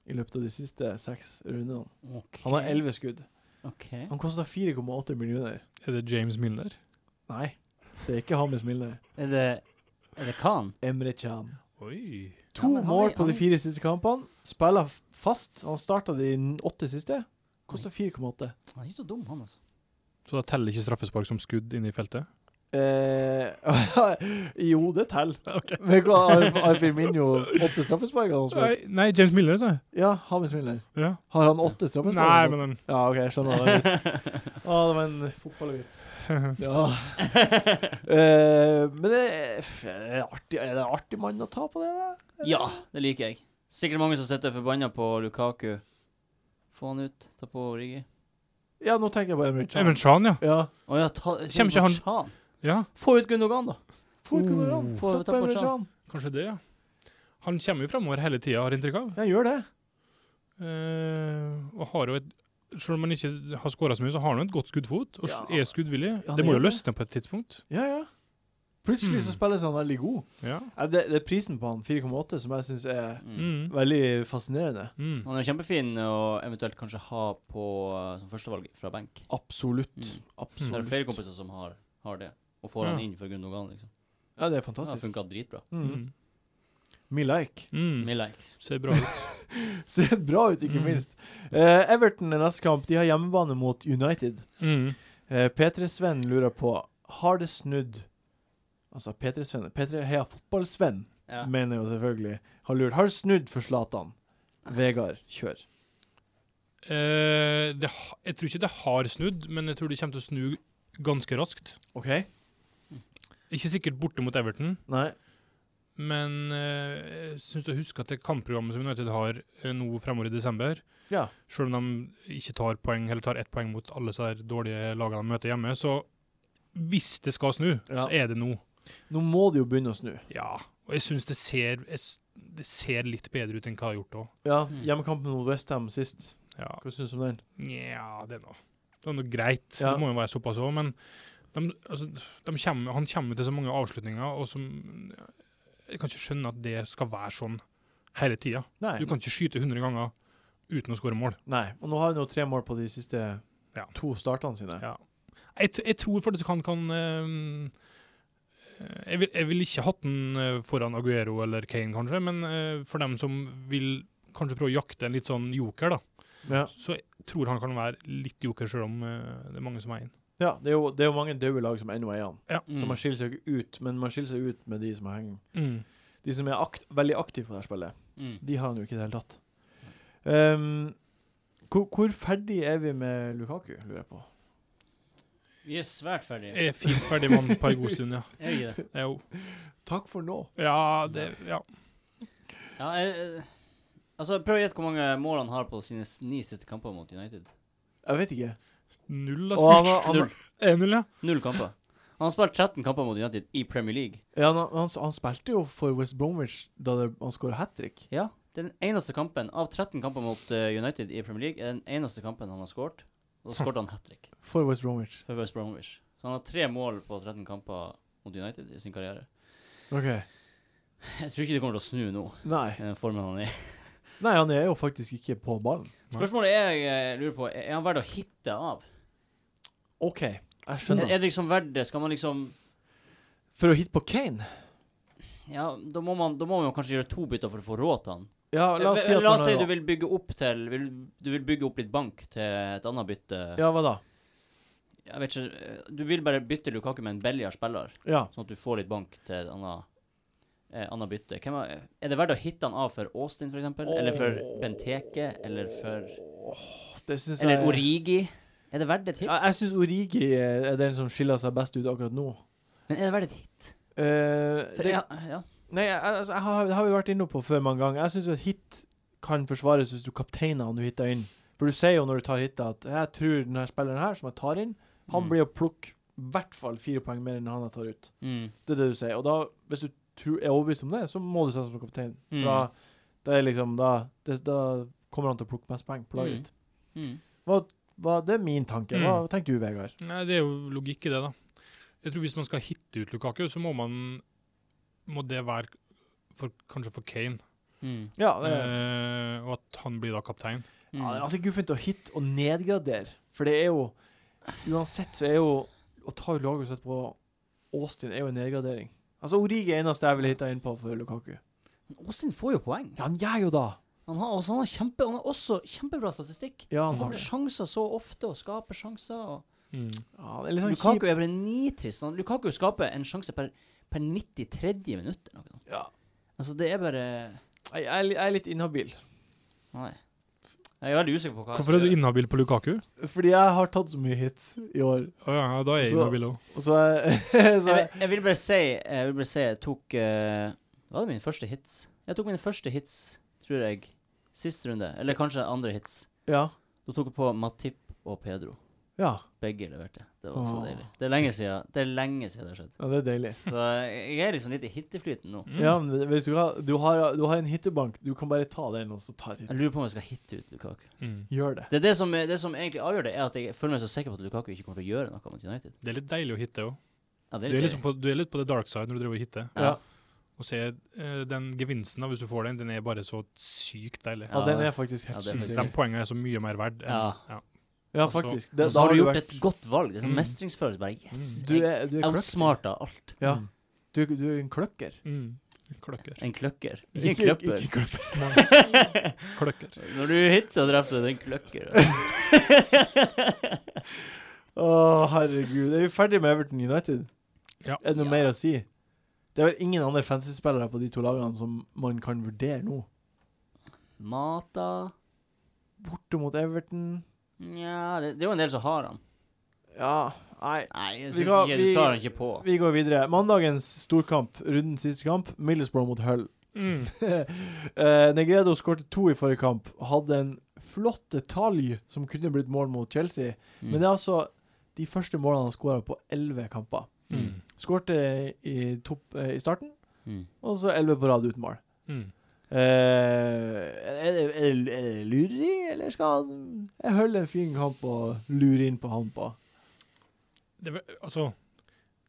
Speaker 1: i løpet av de siste seks rundene.
Speaker 2: Ok.
Speaker 1: Han har elleve skudd.
Speaker 2: Ok.
Speaker 1: Han kosta 4,8 millioner.
Speaker 4: Er det James Milner?
Speaker 1: Nei, det er ikke Hamis Milner.
Speaker 2: Er det Er det Khan?
Speaker 1: Emre Can.
Speaker 4: Oi.
Speaker 1: To
Speaker 2: Ja, men han er-
Speaker 1: mål på de
Speaker 2: han-
Speaker 1: fire siste kampene. Spiller f- fast. Han starta de n- åtte siste. Kosta 4,8.
Speaker 2: Han er ikke så dum, han, altså.
Speaker 4: Så da teller ikke straffespark som skudd inne i feltet?
Speaker 1: Eh, *laughs* jo, det teller. *laughs* Men hva har har Firmino åtte straffespark? Han har
Speaker 4: Nei,
Speaker 1: spilt?
Speaker 4: nei, James Milner, sa jeg.
Speaker 1: Ja, Hamis Miller.
Speaker 4: Ja.
Speaker 1: Har han åtte straffespark?
Speaker 4: Nei, men den
Speaker 1: Ja, OK, jeg skjønner. Det var
Speaker 4: *laughs*
Speaker 1: litt. Å, det var en fotballvits. Ja. Eh, men det er, f- er det artig, er det en artig mann å ta på det, da?
Speaker 2: Ja, det liker jeg. Sikkert mange som sitter forbanna på Lukaku. Få han ut. Ta på Riggy.
Speaker 1: Ja, nå tenker jeg på Emre Can.
Speaker 4: Emil Chan, ja.
Speaker 1: Ja.
Speaker 2: Å ja, ta
Speaker 4: Kjem ikke han-
Speaker 2: Chan.
Speaker 4: ja.
Speaker 2: Få ut Gundogan, da.
Speaker 1: Få ut Gundogan.
Speaker 4: Oh.
Speaker 1: Få
Speaker 2: Så
Speaker 1: sett
Speaker 2: ta
Speaker 1: på
Speaker 2: på
Speaker 1: Emre
Speaker 2: Can.
Speaker 1: Can.
Speaker 4: Kanskje det, ja. Han kommer jo framover hele tida, har jeg inntrykk av.
Speaker 1: Ja, gjør det.
Speaker 4: Eh, og har jo et Selv om han ikke har skåra så mye, så har han jo et godt skuddfot, og
Speaker 1: Ja.
Speaker 4: er skuddvillig.
Speaker 1: Ja,
Speaker 4: det
Speaker 1: han
Speaker 4: må
Speaker 1: er
Speaker 4: jo
Speaker 1: det.
Speaker 4: løsne på et tidspunkt.
Speaker 1: Ja, ja. Plutselig så
Speaker 4: Mm.
Speaker 1: spilles han veldig god.
Speaker 4: Ja.
Speaker 1: Ja, det, det er prisen på han, 4,8, som jeg syns er
Speaker 2: Mm.
Speaker 4: Mm.
Speaker 1: veldig fascinerende.
Speaker 4: Mm.
Speaker 2: Han er jo kjempefin å eventuelt kanskje ha på eh, som førstevalg fra benk.
Speaker 1: Absolutt.
Speaker 2: Mm. Så det er
Speaker 1: Absolutt.
Speaker 2: flere kompiser som har, har det, og får han
Speaker 4: Ja.
Speaker 2: inn for Gundogan. liksom.
Speaker 1: Ja, det er
Speaker 2: Det har
Speaker 1: fantastisk.
Speaker 2: funka dritbra.
Speaker 1: Mm.
Speaker 4: Mm.
Speaker 1: Me like. *laughs*
Speaker 4: Mm.
Speaker 2: Med like.
Speaker 4: Ser bra ut.
Speaker 1: Ser bra ut, ikke
Speaker 4: Mm.
Speaker 1: minst. Eh, Everton i neste kamp. De har hjemmebane mot United.
Speaker 4: Mm.
Speaker 1: Uh, P3-Sven lurer på Har det snudd Altså P3-Sven P3 Heia Fotball-Sven,
Speaker 2: Ja.
Speaker 1: mener jo selvfølgelig. Har lurt. Har det snudd for Zlatan? Vegard, kjør.
Speaker 4: Eh, det, ha- jeg tror ikke det har snudd, men jeg tror det kommer til å snu ganske raskt.
Speaker 1: OK?
Speaker 4: Ikke sikkert borte mot Everton,
Speaker 1: Nei.
Speaker 4: men eh, jeg syns å huske at det kampprogrammet som United har eh, nå fremover i desember,
Speaker 1: Ja.
Speaker 4: selv om de ikke tar poeng, eller tar ett poeng mot alle disse her dårlige lagene de møter hjemme, så hvis det skal snu,
Speaker 1: Ja.
Speaker 4: så er det nå.
Speaker 1: Nå må det jo begynne å snu.
Speaker 4: Ja. Og jeg syns det, ser- jeg s- det ser litt bedre ut enn hva jeg har gjort òg.
Speaker 1: Ja,
Speaker 2: Mm.
Speaker 1: Hjemmekampen mot Westham sist.
Speaker 4: Ja.
Speaker 1: Hva syns du om den?
Speaker 4: Nja, det er nå Det er nå greit.
Speaker 1: Ja.
Speaker 4: Det må jo være såpass òg, men de, altså, de kommer, han kommer til så mange avslutninger, og som Jeg kan ikke skjønne at det skal være sånn hele tida.
Speaker 1: Nei.
Speaker 4: Du kan ikke skyte 100 ganger uten å skåre mål.
Speaker 1: Nei. Og nå har han jo tre mål på de siste
Speaker 4: Ja.
Speaker 1: to startene sine.
Speaker 4: Ja. Jeg, t- jeg tror faktisk han kan eh, jeg, vil, jeg vil ikke hatt den eh, foran Aguero eller Kane, kanskje, men eh, for dem som vil kanskje prøve å jakte en litt sånn joker, da,
Speaker 1: Ja.
Speaker 4: så jeg tror han kan være litt joker, sjøl om eh, det er mange som er inn.
Speaker 1: Ja, det er jo, det er jo mange døde lag som ennå er igjen. Så
Speaker 2: Mm.
Speaker 1: man skiller seg ikke ut, men man skiller seg ut med de som henger
Speaker 4: Mm.
Speaker 1: De som er akt, veldig aktive på det her spillet.
Speaker 2: Mm.
Speaker 1: De har han jo ikke i det hele tatt. Ehm, hvor, hvor ferdig er vi med Lukaku, lurer jeg på.
Speaker 2: Vi er svært ferdige.
Speaker 4: Jeg er fint ferdig med han på en god stund,
Speaker 1: *laughs*
Speaker 4: ja.
Speaker 2: Er vi ikke det?
Speaker 4: Det er jo
Speaker 1: Takk for nå.
Speaker 4: Ja, det Ja.
Speaker 2: Ja, jeg, eh, altså, prøv å gjette hvor mange mål han har på sine s- ni siste kamper mot United.
Speaker 1: Jeg vet ikke.
Speaker 4: Null,
Speaker 1: Og han,
Speaker 4: altså.
Speaker 1: har- han, har-
Speaker 4: Er null, ja.
Speaker 2: Null kamper. Han har spilt 13 kamper mot United i Premier League.
Speaker 1: ja, han, han, han spilte jo for West Bromwich da det, han skåra hat trick.
Speaker 2: Ja, den eneste kampen av 13 kamper mot eh, United i Premier League, er den eneste kampen han har skåret. Og da skåret han hat trick
Speaker 1: For West Bromwich.
Speaker 2: for West Bromwich. Så han har tre mål på 13 kamper mot United i sin karriere.
Speaker 1: OK.
Speaker 2: Jeg tror ikke det kommer til å snu nå,
Speaker 1: Nei.
Speaker 2: i den formen han er i.
Speaker 1: Nei, han er jo faktisk ikke på ballen.
Speaker 2: Spørsmålet er, jeg lurer på, er han verdt å hitte av?
Speaker 1: OK, jeg
Speaker 2: Er,
Speaker 1: skjønner.
Speaker 2: er det liksom verdt det? Skal man liksom
Speaker 1: For å hitte på Kane
Speaker 2: Ja, da må man, da må man jo kanskje gjøre to bytter for å få råd til han.
Speaker 1: Ja, la oss si at
Speaker 2: Eh, La
Speaker 1: man
Speaker 2: oss
Speaker 1: har
Speaker 2: si du
Speaker 1: råd.
Speaker 2: vil bygge opp til vil, Du vil bygge opp litt bank til et annet bytte.
Speaker 1: Ja, hva da?
Speaker 2: Jeg vet ikke eh, Du vil bare bytte Lukaku med en billigere spiller,
Speaker 1: Ja.
Speaker 2: sånn at du får litt bank til et annet, eh, annet bytte. Hvem er, er det verdt å hitte han av for Austin, for eksempel? Eller for Benteke? Eller for
Speaker 1: Det syns jeg
Speaker 2: Eller Origi? Er det verdt et hit?
Speaker 1: Jeg, jeg syns Origi er den som skiller seg best ut akkurat nå.
Speaker 2: Men er det verdt et hit?
Speaker 1: Eh,
Speaker 2: For,
Speaker 1: det,
Speaker 2: ja, ja.
Speaker 1: Nei, jeg, altså, jeg har, det har vi vært inne på før mange ganger. Jeg syns at hit kan forsvares hvis du kapteiner han du hitter inn. For du sier jo når du tar hitta, at jeg tror denne spilleren her, som jeg tar inn, han
Speaker 2: Mm.
Speaker 1: blir å plukke i hvert fall fire poeng mer enn han jeg tar ut.
Speaker 2: Mm.
Speaker 1: Det er det du sier. Og da, hvis du tror, er overbevist om det, så må du satse på kaptein.
Speaker 2: Mm.
Speaker 1: For da, det er liksom, da, det, da kommer han til å plukke mest poeng på
Speaker 2: Mm.
Speaker 1: laget ditt.
Speaker 2: Mm.
Speaker 1: Hva, det er min tanke. Hva,
Speaker 4: Mm.
Speaker 1: hva tenker du, Vegard?
Speaker 4: Nei, det er jo logikk i det, da. Jeg tror hvis man skal hitte ut Lukaku, så må man Må det være for, kanskje for Kane,
Speaker 2: Mm.
Speaker 1: Ja, det,
Speaker 4: eh, og at han blir da kaptein.
Speaker 1: Ja,
Speaker 2: Mm.
Speaker 1: det er ganske guffent å hit og nedgradere. For det er jo Uansett så er jo å ta laget sett på Austin er jo en nedgradering. Altså Origi er eneste jeg ville hitta inn på for Lukaku.
Speaker 2: Austin får jo poeng.
Speaker 1: Ja, han gjør jo da.
Speaker 2: Han har, også, han har, kjempe, han har også kjempebra statistikk.
Speaker 1: Ja,
Speaker 2: Han
Speaker 1: han har
Speaker 2: har
Speaker 1: det.
Speaker 2: sjanser så ofte og skaper sjanser. Og
Speaker 4: Mm.
Speaker 1: Ja, han er litt sånn
Speaker 2: Lukaku
Speaker 1: kjip.
Speaker 2: er bare nitrist. Han- Lukaku skaper en sjanse per, per 93. minutt. eller noe sånt.
Speaker 1: Ja.
Speaker 2: Altså, det er bare
Speaker 1: Jeg, jeg er li- jeg er litt inhabil.
Speaker 2: Nei. Jeg er veldig usikker på hva
Speaker 4: Hvorfor er du inhabil på Lukaku?
Speaker 1: Fordi jeg har tatt så mye hits i år.
Speaker 4: Å ja, ja, da er jeg
Speaker 1: Så-
Speaker 4: inhabil òg.
Speaker 1: Og så er *laughs* så jeg,
Speaker 2: Jeg, vil- jeg vil bare si Jeg vil bare si jeg tok eh, Var det mine første hits? Jeg tok mine første hits, tror jeg, sist runde. Eller kanskje andre hits.
Speaker 1: Ja.
Speaker 2: Da tok jeg på Matip og Pedro.
Speaker 1: Ja.
Speaker 2: Begge leverte. Det var så
Speaker 1: Åh.
Speaker 2: deilig. Det er lenge siden det, er lenge siden det har skjedd.
Speaker 1: ja, det er deilig.
Speaker 2: Så jeg er liksom litt i hitteflyten nå.
Speaker 1: Ja, men vet du hva? Du har, du har en hittebank. Du kan bare ta den, og så ta et hit.
Speaker 2: Jeg lurer på om jeg skal hitte ut Lukaku.
Speaker 4: Mm.
Speaker 1: Gjør det.
Speaker 2: Det, er det, som, det som egentlig avgjør det, er at jeg føler meg så sikker på at Lukaku ikke kommer til å gjøre noe mot United.
Speaker 4: Det er litt deilig å hitte òg.
Speaker 2: Ja,
Speaker 4: Du,
Speaker 2: det er
Speaker 4: er
Speaker 2: litt
Speaker 4: liksom på- du er litt på the dark side når du driver og hitter.
Speaker 1: Ja.
Speaker 2: Ja.
Speaker 4: Og se eh, den gevinsten, da, hvis du får den, den er bare så sykt deilig.
Speaker 1: ja, den er faktisk
Speaker 2: Ja,
Speaker 1: helt
Speaker 2: det er
Speaker 1: sykt.
Speaker 2: faktisk-
Speaker 4: De
Speaker 1: deilig.
Speaker 4: poengene er så mye mer verdt. enn-
Speaker 2: Ja.
Speaker 4: Ja.
Speaker 1: Ja,
Speaker 4: Altså,
Speaker 1: faktisk.
Speaker 2: Og
Speaker 1: Det,
Speaker 2: så har du gjort
Speaker 1: vært- Mm.
Speaker 2: et godt valg. Det er sånn
Speaker 4: Mm.
Speaker 2: mestringsfølelse. Bare yes!
Speaker 1: Du
Speaker 2: Jeg
Speaker 1: er, du er kløktig.
Speaker 2: outsmarta alt.
Speaker 1: Ja. Du, du er en kløkker.
Speaker 4: Mm. Kløkker.
Speaker 2: En kløkker.
Speaker 1: *laughs*
Speaker 2: Ikke en kløpper.
Speaker 1: Ikke kløpper.
Speaker 2: *laughs*
Speaker 4: Kløkker.
Speaker 2: Når du hitter og treffer, så er det en kløkker.
Speaker 1: Å, herregud. Er vi ferdig med Everton United?
Speaker 4: Ja.
Speaker 1: Er det noe
Speaker 2: Ja.
Speaker 1: mer å si? Det er vel ingen andre fancy-spillere på de to lagene som man kan vurdere nå.
Speaker 2: Mata
Speaker 1: Borte mot Everton
Speaker 2: Nja, det, det er jo en del som har han.
Speaker 1: Ja, nei.
Speaker 2: Nei, jeg
Speaker 1: Vi
Speaker 2: synes
Speaker 1: kan-
Speaker 2: ikke du
Speaker 1: vi-
Speaker 2: tar han ikke på.
Speaker 1: Vi går videre. Mandagens storkamp, rundens siste kamp, Middlesbrough mot Hull. *laughs*
Speaker 4: Mm.
Speaker 1: Eh, Negredo skårte to i forrige kamp. Hadde en flott detalj som kunne blitt mål mot Chelsea.
Speaker 2: Mm.
Speaker 1: Men det er altså de første målene han skåra på elleve kamper.
Speaker 4: Mm.
Speaker 1: Skårte i, topp- eh, i starten,
Speaker 2: Mm.
Speaker 1: og så elleve på rad uten mål.
Speaker 4: Mm.
Speaker 1: Eh, er, det, er, det, er det lureri, eller skal han Jeg holder en fin kamp og lurer inn på han på?
Speaker 4: Det er vel- altså,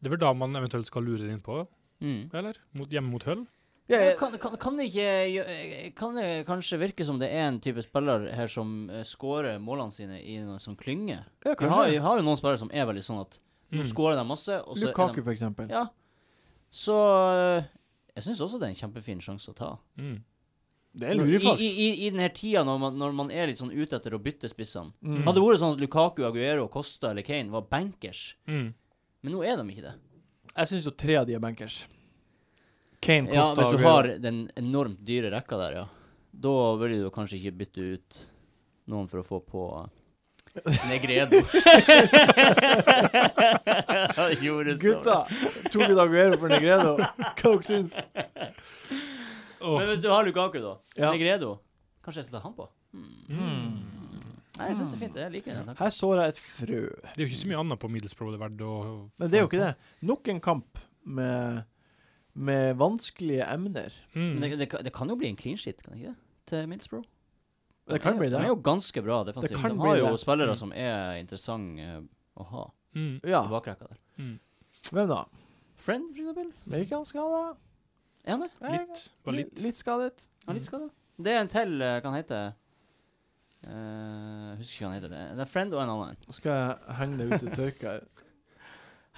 Speaker 4: det er vel da man eventuelt skal lure det inn på,
Speaker 2: Mm.
Speaker 4: eller? Mot, hjemme mot Hull?
Speaker 1: Ja,
Speaker 2: Ja,
Speaker 1: jeg,
Speaker 2: Kan, kan, kan, det ikke, gjø- eh, kan det kanskje virke som det er en type spiller her som eh, scorer målene sine i noe som klynge?
Speaker 1: ja,
Speaker 2: Vi har, vi
Speaker 1: kanskje. Mm.
Speaker 2: har jo noen spillere som er veldig sånn at
Speaker 4: Mm.
Speaker 2: nå scorer de masse, og så
Speaker 1: Lukaku,
Speaker 2: er
Speaker 1: for eksempel.
Speaker 2: de Ja. Så eh, jeg syns også det er en kjempefin sjanse å ta.
Speaker 4: Mm.
Speaker 1: Det er
Speaker 2: I,
Speaker 1: lureri,
Speaker 2: i,
Speaker 1: faktisk.
Speaker 2: i, i den her tida når man, når man er litt sånn ute etter å bytte spissene.
Speaker 1: Mm.
Speaker 2: Hadde det vært sånn at Lukaku, Aguero, Costa eller Kane var bankers,
Speaker 4: Mm.
Speaker 2: men nå er de ikke det.
Speaker 1: Jeg syns jo tre av de er bankers. Kane
Speaker 2: Ja,
Speaker 1: Costa
Speaker 2: Hvis du
Speaker 1: Aguero.
Speaker 2: har den enormt dyre rekka der, ja. Da vil du jo kanskje ikke bytte ut noen for å få på eh, Negredo. Gjorde så.
Speaker 1: Gutta! Tok ut Aguero for
Speaker 2: *laughs*
Speaker 1: Negredo. Hva dere syns
Speaker 2: Men hvis du har Lukaku, da.
Speaker 1: Ja.
Speaker 2: Negredo. Kanskje jeg skal ta han på?
Speaker 1: Mm.
Speaker 2: Nei, jeg syns det er fint. Jeg liker den tanken.
Speaker 1: Her sår jeg et frø.
Speaker 4: Det er jo ikke så mye annet på Middlesbrough det er verdt å
Speaker 1: Men det er jo ikke det. Nok en kamp med, med vanskelige emner.
Speaker 4: Mm.
Speaker 2: Men det, det, kan- det kan jo bli en clean shit, kan det ikke det? Til Middlesbrough.
Speaker 1: Det kan bli det.
Speaker 2: De er jo ganske bra defensivt.
Speaker 1: Det kan
Speaker 2: De
Speaker 1: bli
Speaker 2: har jo
Speaker 1: det.
Speaker 2: spillere
Speaker 4: Mm.
Speaker 2: som er interessante eh, å ha
Speaker 4: Mm.
Speaker 1: Ja.
Speaker 2: i bakrekka der.
Speaker 4: Mm.
Speaker 1: Hvem da?
Speaker 2: Friend, for eksempel.
Speaker 1: Amerikansk, han da?
Speaker 2: Er han det?
Speaker 1: Nei,
Speaker 4: Litt. Bare litt.
Speaker 1: Litt skadet.
Speaker 2: Han er litt skada. Det er en til, eh, hva han heter Eh, Husker ikke hva han heter. Det er- det er Friend og en annen.
Speaker 1: Nå skal jeg henge deg ut i tørka. her.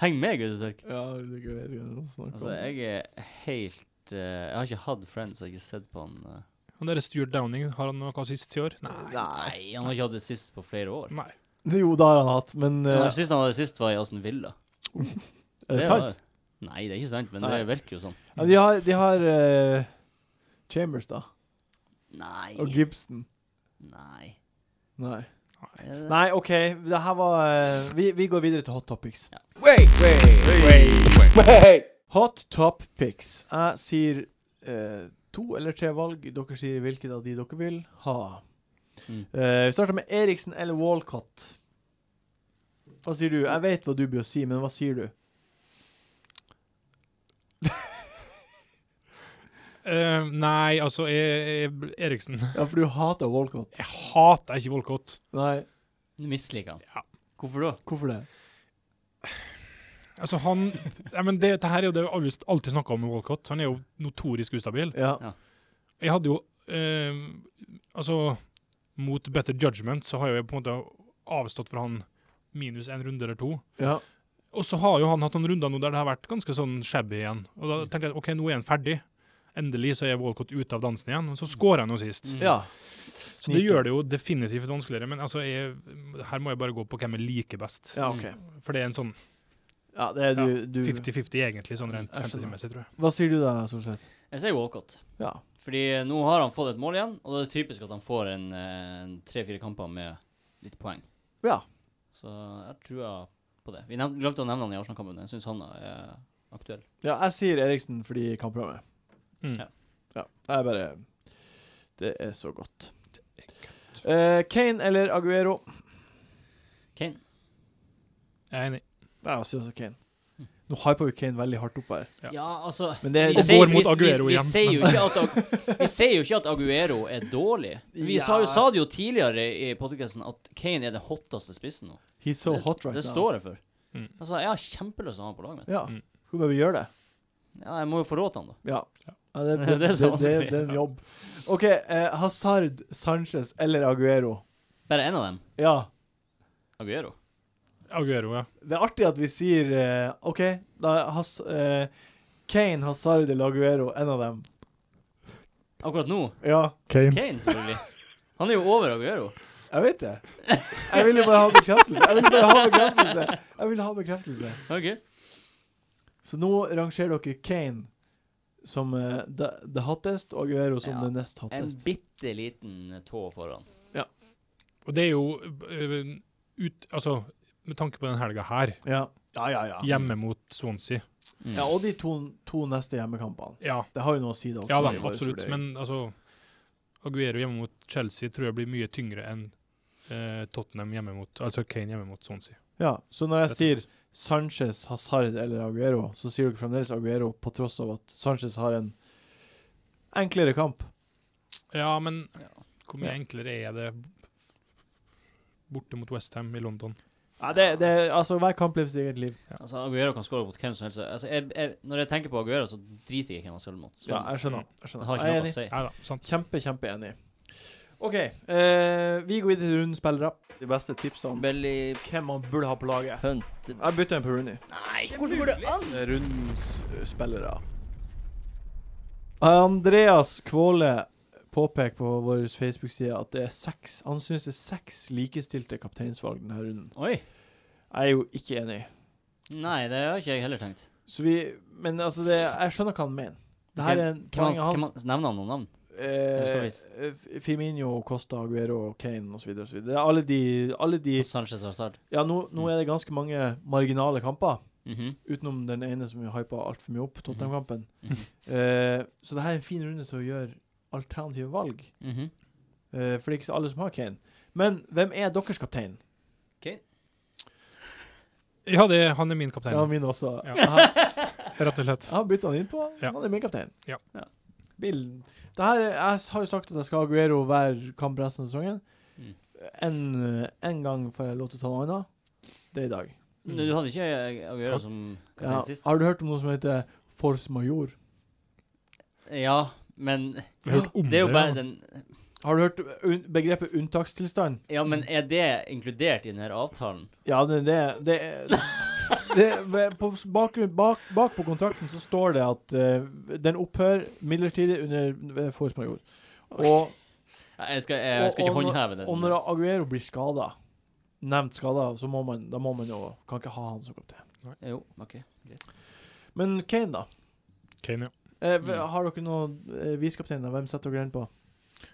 Speaker 2: Heng med, guttetørk.
Speaker 1: *laughs* Ja, jeg vet ikke hva jeg snakker
Speaker 2: Altså, jeg er helt eh, Jeg har ikke hatt Friends, så jeg har ikke sett på han eh.
Speaker 4: Han derre Stuart Downing, har han noe sist i år? Nei.
Speaker 1: om. Nei.
Speaker 2: Nei, han har ikke hatt det sist på flere år.
Speaker 4: Nei.
Speaker 1: *laughs* Jo, det har han hatt, men
Speaker 2: Ja,
Speaker 1: eh,
Speaker 2: sist han hadde det sist, var i Aston Villa.
Speaker 1: Er det
Speaker 2: var-
Speaker 1: sant?
Speaker 2: Nei, det er ikke sant, men
Speaker 1: Nei.
Speaker 2: det virker jo sånn.
Speaker 1: Ja, de har, de har eh, Chambers, da.
Speaker 2: Nei.
Speaker 1: Og Gibson.
Speaker 2: Nei. Eh,
Speaker 1: Nei.
Speaker 2: Er det det?
Speaker 1: Nei, OK. Det her var eh, vi, vi går videre til hot topics.
Speaker 3: Wait, wait, wait, wait, wait.
Speaker 1: Hot topics. Jeg sier eh, to eller tre valg. Dere sier hvilket av de dere vil ha.
Speaker 2: Mm.
Speaker 1: Eh, vi starter med Eriksen eller Walcott. Hva sier du? Jeg vet hva du bør si, men hva sier du?
Speaker 4: Eh, nei, altså jeg, jeg, Eriksen *laughs*
Speaker 1: Ja, for du hater Walcott.
Speaker 4: Jeg hater ikke Volkott.
Speaker 1: Nei,
Speaker 2: Du misliker han.
Speaker 4: Ja.
Speaker 2: Hvorfor da?
Speaker 1: hvorfor det?
Speaker 4: Altså han, nei, men det, det her er jo det vi alltid, alltid snakket om med Walcott. Han er jo notorisk ustabil.
Speaker 1: Ja.
Speaker 4: Jeg hadde jo eh, Altså, mot better judgment så har jo jeg på en måte avstått fra han minus en runde eller to.
Speaker 1: ja.
Speaker 4: Og så har jo han hatt noen runder nå der det har vært ganske sånn shabby igjen. Og da tenkte jeg OK, nå er han ferdig. Endelig så er Walcott ute av dansen igjen. Og så skårer han jo sist.
Speaker 2: Mm.
Speaker 1: ja.
Speaker 4: Så det gjør det jo definitivt vanskeligere. Men altså, jeg, her må jeg bare gå på hvem jeg liker best.
Speaker 1: Ja, OK.
Speaker 4: For det er en sånn
Speaker 1: Ja, det er
Speaker 4: Ja,
Speaker 1: du, du
Speaker 4: 50-50 egentlig, sånn rent
Speaker 1: Jeg skjønner.
Speaker 4: fantasymessig, tror jeg.
Speaker 1: Hva sier du da, Solseth?
Speaker 2: Jeg sier Walcott.
Speaker 1: Ja.
Speaker 2: Fordi eh, nå har han fått et mål igjen, og da er det typisk at han får en, eh, en tre-fire kamper med litt poeng.
Speaker 1: Ja.
Speaker 2: Så jeg tror på det. Vi nevnte, glemte å nevne han i Arsenal-kampen. Jeg syns han er eh, aktuell.
Speaker 1: ja, jeg sier Eriksen fordi kampprogrammet.
Speaker 4: Mm.
Speaker 2: Ja.
Speaker 1: Ja, jeg bare Det er så godt. Eh, Kane eller Aguero?
Speaker 2: Kane.
Speaker 4: Jeg er enig.
Speaker 1: Nei, Jeg sier også Kane.
Speaker 2: Hm.
Speaker 1: Nå hyper vi Kane veldig hardt opp her.
Speaker 2: Ja,
Speaker 4: Ja.
Speaker 2: altså
Speaker 1: Men det er-
Speaker 2: vi
Speaker 1: Og
Speaker 2: sier-
Speaker 4: går mot
Speaker 2: vi- vi,
Speaker 4: Aguero
Speaker 2: vi,
Speaker 4: igjen.
Speaker 2: sier jo ikke at Ag- vi sier jo ikke at Aguero er dårlig. Vi sa, jo,
Speaker 1: Ja.
Speaker 2: sa det jo tidligere i podcasten at Kane er den hotteste spissen nå.
Speaker 1: He's so
Speaker 2: det,
Speaker 1: hot right
Speaker 2: det
Speaker 1: now.
Speaker 2: står jeg for.
Speaker 4: Mm.
Speaker 2: Altså, jeg har kjempelyst til å ha han på laget mitt.
Speaker 1: Ja.
Speaker 4: Mm.
Speaker 1: Skal vi bare gjøre det?
Speaker 2: Ja, jeg må jo få råd til han, da.
Speaker 1: Ja. ja det,
Speaker 2: *laughs* Det er
Speaker 1: det, det,
Speaker 2: så
Speaker 1: det,
Speaker 2: vanskelig.
Speaker 1: det er en jobb. OK, eh, Hazard, Sanchez eller Aguero?
Speaker 2: Bare én av dem.
Speaker 1: Ja.
Speaker 2: Aguero.
Speaker 4: Aguero, ja.
Speaker 1: Det er artig at vi sier eh, OK, da has, eh, Kane, Hazard eller Aguero, en av dem.
Speaker 2: Akkurat nå
Speaker 1: Ja.
Speaker 2: Kane, selvfølgelig. Han er jo over Aguero.
Speaker 1: Jeg vet det. Jeg ville bare ha bekreftelse. Jeg ville bare ha bekreftelse. Jeg ville ha bekreftelse.
Speaker 2: Ok.
Speaker 1: Så nå rangerer dere Kane som eh, det det hottest, og Aguero som
Speaker 2: Ja.
Speaker 1: det nest
Speaker 2: En
Speaker 1: hottest.
Speaker 2: bitte liten tå foran.
Speaker 4: Og det er jo øh, ut, Altså, med tanke på den helga her,
Speaker 1: Ja. ja, ja, ja.
Speaker 4: hjemme mot Swansea
Speaker 1: Ja, Og de to, to neste hjemmekampene.
Speaker 4: Ja,
Speaker 1: Det har jo noe å si, det også.
Speaker 4: ja da,
Speaker 1: i vår
Speaker 4: absolutt.
Speaker 1: vurdering.
Speaker 4: Men altså Aguero hjemme mot Chelsea tror jeg blir mye tyngre enn eh, Tottenham hjemme mot Altså Kane hjemme mot Swansea.
Speaker 1: ja, Så når jeg sier Sanchez, Hazard eller Aguero, så sier dere fremdeles Aguero på tross av at Sanchez har en enklere kamp.
Speaker 4: Ja, men
Speaker 2: Ja.
Speaker 4: hvor mye
Speaker 1: Ja.
Speaker 4: enklere er det borte mot Westham i London?
Speaker 1: Ja, det, det, altså, hver kamp lever sitt eget liv.
Speaker 2: Altså, Aguero kan skåre mot hvem som helst. Altså, jeg, jeg, når jeg tenker på Aguero, så driter jeg i hvem han spiller mot. Så
Speaker 1: Ja, jeg skjønner. Jeg,
Speaker 2: Det
Speaker 1: skjønner.
Speaker 2: har
Speaker 1: jeg er
Speaker 2: ikke
Speaker 1: enig.
Speaker 2: noe å si.
Speaker 4: Nei da, sant.
Speaker 1: Kjempe, kjempeenig. OK, eh, vi går videre til rundens spillere. De beste tipsene om
Speaker 2: Belly
Speaker 1: hvem man burde ha på laget.
Speaker 2: Hunt
Speaker 1: Jeg bytter en på Rooney.
Speaker 2: Nei, hvordan går det an?
Speaker 1: Rundens spillere. Andreas Kvåle påpeker på vår Facebook-side at det er seks Han syns det er seks likestilte kapteinsvalg denne runden.
Speaker 2: Oi.
Speaker 1: Jeg er jo ikke enig.
Speaker 2: Nei, det har ikke jeg heller tenkt.
Speaker 1: Så vi Men altså, det, jeg skjønner hva han mener. Det her er en
Speaker 2: Hvem
Speaker 1: poenget
Speaker 2: han, hvem
Speaker 1: hans.
Speaker 2: han, nevner han noen navn? skal
Speaker 1: Eh,
Speaker 2: vise.
Speaker 1: F- Firmino, Costa, Aguero, Kane osv. osv. Det er alle de, alle de
Speaker 2: Sanchez har start.
Speaker 1: Ja, nå, nå er det ganske mange marginale kamper,
Speaker 2: Mhm.
Speaker 1: utenom den ene som vi hypa altfor mye opp, Tottenham-kampen.
Speaker 2: Mhm.
Speaker 1: Eh, så det her er en fin runde til å gjøre alternative valg,
Speaker 2: Mhm.
Speaker 1: eh, for det er ikke så alle som har Kane. Men hvem er deres kaptein?
Speaker 4: Ja, det, han er min
Speaker 1: Ja,
Speaker 4: kaptein,
Speaker 1: min også.
Speaker 4: Ja. *laughs*
Speaker 1: Jeg har-
Speaker 4: rett og
Speaker 1: jeg
Speaker 4: slett.
Speaker 1: har bytta han inn på.
Speaker 4: Ja.
Speaker 1: Han er min kaptein.
Speaker 4: Ja.
Speaker 2: Ja.
Speaker 1: Bill, det her, er- jeg har jo sagt at jeg skal ha Aguero hver kamp resten av sesongen.
Speaker 2: Mm.
Speaker 1: En, en gang får jeg lov til å ta noe annet. Det er i dag.
Speaker 2: Men Du hadde ikke eh, Aguero
Speaker 4: Kan-
Speaker 2: som kaptein
Speaker 1: Mm. Ja.
Speaker 2: sist?
Speaker 1: Har du hørt om noe som heter force major?
Speaker 2: Ja, men
Speaker 4: Jeg har hørt om
Speaker 2: det er jo
Speaker 4: ja.
Speaker 2: bare den
Speaker 1: Har du hørt un begrepet unntakstilstand?
Speaker 2: Ja, men er det inkludert i denne avtalen?
Speaker 1: Ja, det det, det, *laughs* det på bakgrunn, bak, bak på kontrakten så står det at eh, den opphører midlertidig under forespørsel. Og,
Speaker 2: Ja, Jeg skal, jeg skal
Speaker 1: Og-
Speaker 2: ikke
Speaker 1: og når-
Speaker 2: håndheve den.
Speaker 1: og når Aguero blir skada, nevnt skada, så må man, da må man jo Kan ikke ha han som kaptein.
Speaker 2: Jo, OK.
Speaker 1: Men Kane, da?
Speaker 4: Kane, ja.
Speaker 1: Eh,
Speaker 2: Mm.
Speaker 1: Har dere noen eh, visekapteiner? Hvem setter dere den på?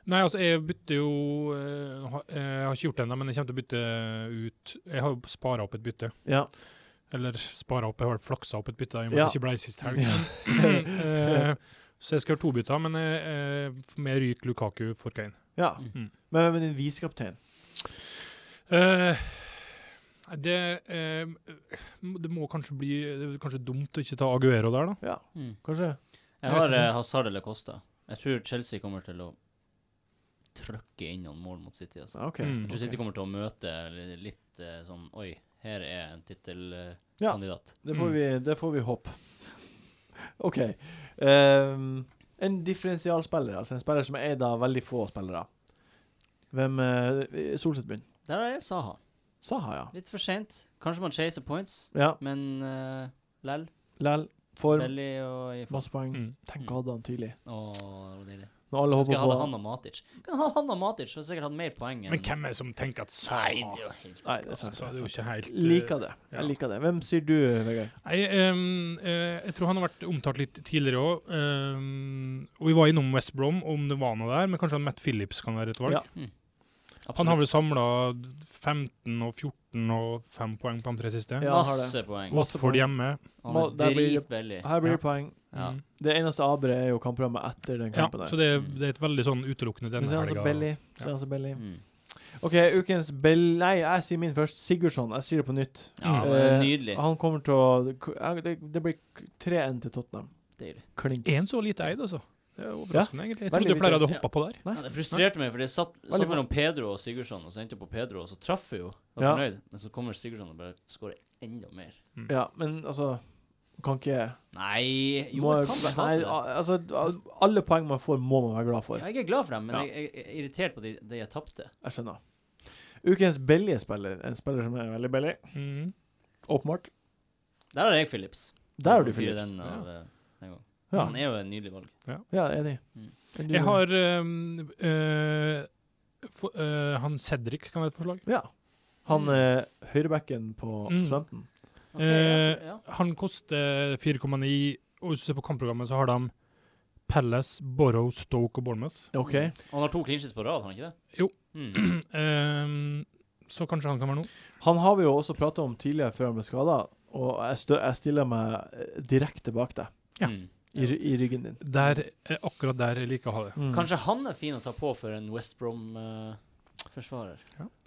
Speaker 4: Nei, altså, jeg bytter jo eh, ha- eh, Jeg har ikke gjort det ennå, men jeg kommer til å bytte ut Jeg har jo spara opp et bytte.
Speaker 1: Ja.
Speaker 4: Eller spara opp, jeg har flaksa opp et bytte da, i og med
Speaker 1: Ja.
Speaker 4: at det ikke ble sist helg. Eh, så jeg skal gjøre to bytter, men eh, eh, for meg ryker Lukaku for Kane.
Speaker 1: ja.
Speaker 4: Mm.
Speaker 1: Men hvem er din visekaptein?
Speaker 4: Eh, nei, det, eh, det må kanskje bli Det er kanskje dumt å ikke ta Aguero der, da.
Speaker 1: Ja,
Speaker 2: Mm.
Speaker 1: kanskje?
Speaker 2: Jeg har eh, Hazard eller Costa. Jeg tror Chelsea kommer til å trykke inn noen mål mot City. Altså.
Speaker 1: Ja, OK.
Speaker 4: Mm.
Speaker 2: Jeg tror
Speaker 1: ok.
Speaker 2: City kommer til å møte li- litt eh, sånn Oi, her er en
Speaker 1: Ja.
Speaker 2: tittelkandidat.
Speaker 1: Det får vi, det får vi håpe. *laughs* OK. Ehm, en differensialspiller, altså en spiller som er eid av veldig få spillere. Hvem uh, Solseth begynner.
Speaker 2: Der er Saha.
Speaker 1: Saha, ja.
Speaker 2: Litt for seint. Kanskje man chaser points,
Speaker 1: Ja,
Speaker 2: men uh, lell.
Speaker 1: Lell, form,
Speaker 2: Belly og i form.
Speaker 1: masse poeng.
Speaker 4: Mm.
Speaker 1: Tenk å ha han tidlig.
Speaker 2: Åh, det var deilig.
Speaker 1: Når alle
Speaker 2: Skulle
Speaker 1: håper
Speaker 2: jeg hatt
Speaker 1: på
Speaker 2: han og Matic. Kan ha han og Matic, så hadde jeg sikkert hatt mer poeng. enn-
Speaker 4: Men hvem er det som tenker at Saha
Speaker 2: Nei, det er jo helt
Speaker 1: Nei, det er
Speaker 4: altså,
Speaker 1: sant.
Speaker 4: det er jo ikke helt eh,
Speaker 1: Liker det. Jeg
Speaker 4: ja.
Speaker 1: liker det. Hvem sier du, Vegard?
Speaker 4: Nei, ehm, eh, jeg tror han har vært omtalt litt tidligere òg. og vi var innom West Brom, om det var noe der, men kanskje han Matt Phillips kan være et valg.
Speaker 1: Ja.
Speaker 4: Han har
Speaker 2: Absolutt.
Speaker 4: vel samla 15 og 14 og 5 poeng på de tre siste.
Speaker 1: Ja, han har det.
Speaker 2: Masse poeng.
Speaker 1: Masse
Speaker 4: Watford
Speaker 1: poeng.
Speaker 4: hjemme.
Speaker 2: Han
Speaker 1: Må-
Speaker 2: er
Speaker 1: der blir det-
Speaker 2: dritbillig.
Speaker 1: Her blir
Speaker 4: Ja.
Speaker 1: det poeng.
Speaker 2: Ja.
Speaker 4: Mm.
Speaker 1: Det eneste aberet er jo kampprogrammet etter den
Speaker 4: Ja,
Speaker 1: kampen. der.
Speaker 4: så det, er- det er et veldig sånn utelukkende
Speaker 1: Men
Speaker 4: denne
Speaker 1: så er han så
Speaker 4: helga.
Speaker 1: belly. Så er han så belly.
Speaker 2: Mm.
Speaker 1: OK, ukens Belly Nei, jeg sier min først. Sigurdsson. Jeg sier det på nytt.
Speaker 2: Ja,
Speaker 4: Mm.
Speaker 2: det er
Speaker 1: Eh,
Speaker 2: nydelig.
Speaker 1: Han kommer til å Det, det blir 3-1 til Tottenham.
Speaker 2: Deilig.
Speaker 1: Klink.
Speaker 4: Én så lite eid, altså. Det er overraskende, egentlig. Jeg
Speaker 1: veldig
Speaker 4: trodde flere
Speaker 1: lite.
Speaker 4: hadde hoppa på der.
Speaker 1: Nei.
Speaker 2: Ja, det frustrerte meg, for det satt,
Speaker 1: Veldig
Speaker 2: satt
Speaker 1: bra.
Speaker 2: mellom Pedro og Sigurdsson, og så endte jeg på Pedro, og så traff jeg jo. Jeg var
Speaker 1: Ja.
Speaker 2: fornøyd. Men så kommer Sigurdsson og bare skårer enda mer.
Speaker 1: Ja, men altså Kan ikke
Speaker 2: Nei Jo,
Speaker 1: må,
Speaker 2: jeg kan være
Speaker 1: nei,
Speaker 2: glad for det.
Speaker 1: al- altså, Alle poeng man får, må man være glad
Speaker 2: Ja,
Speaker 1: for.
Speaker 2: jeg er glad for dem, men
Speaker 1: Ja.
Speaker 2: jeg, jeg er irritert på de, de jeg tapte.
Speaker 1: Jeg skjønner. Ukens Belly-spiller, en spiller som er veldig belly,
Speaker 4: Mm.
Speaker 1: åpenbart.
Speaker 2: Der har jeg Phillips.
Speaker 1: Der har du
Speaker 2: Jeg får fyre
Speaker 1: Philips.
Speaker 2: Den av, eh, den gangen.
Speaker 1: Ja,
Speaker 2: Han er jo en nydelig valg.
Speaker 1: ja enig.
Speaker 2: Mm.
Speaker 1: Men du-
Speaker 4: Jeg har ehm, eh, for, eh, Han Cedric kan være et forslag.
Speaker 1: Ja. Han eh, høyrebacken på
Speaker 4: Mm.
Speaker 1: studenten.
Speaker 2: Ok, jeg-
Speaker 4: Eh,
Speaker 2: ja.
Speaker 4: Han koster 4,9, og hvis du ser på kampprogrammet, så har de Palace, Borough, Stoke og Bournemouth. *clears throat*
Speaker 1: OK.
Speaker 2: Mm. Og han har to clinches på rad, har han ikke det?
Speaker 4: Jo.
Speaker 2: Mm.
Speaker 4: Ehm, så kanskje han kan være noe.
Speaker 1: Han har vi jo også prata om tidligere, før han ble skada, og jeg, stø jeg stiller meg eh, direkte bak deg,
Speaker 4: Ja.
Speaker 2: Mm.
Speaker 1: i, ry- i ryggen din.
Speaker 4: Der, eh, akkurat der jeg liker å ha det.
Speaker 1: Mm.
Speaker 2: Kanskje han er fin å ta på for en West eh, Brom-forsvarer.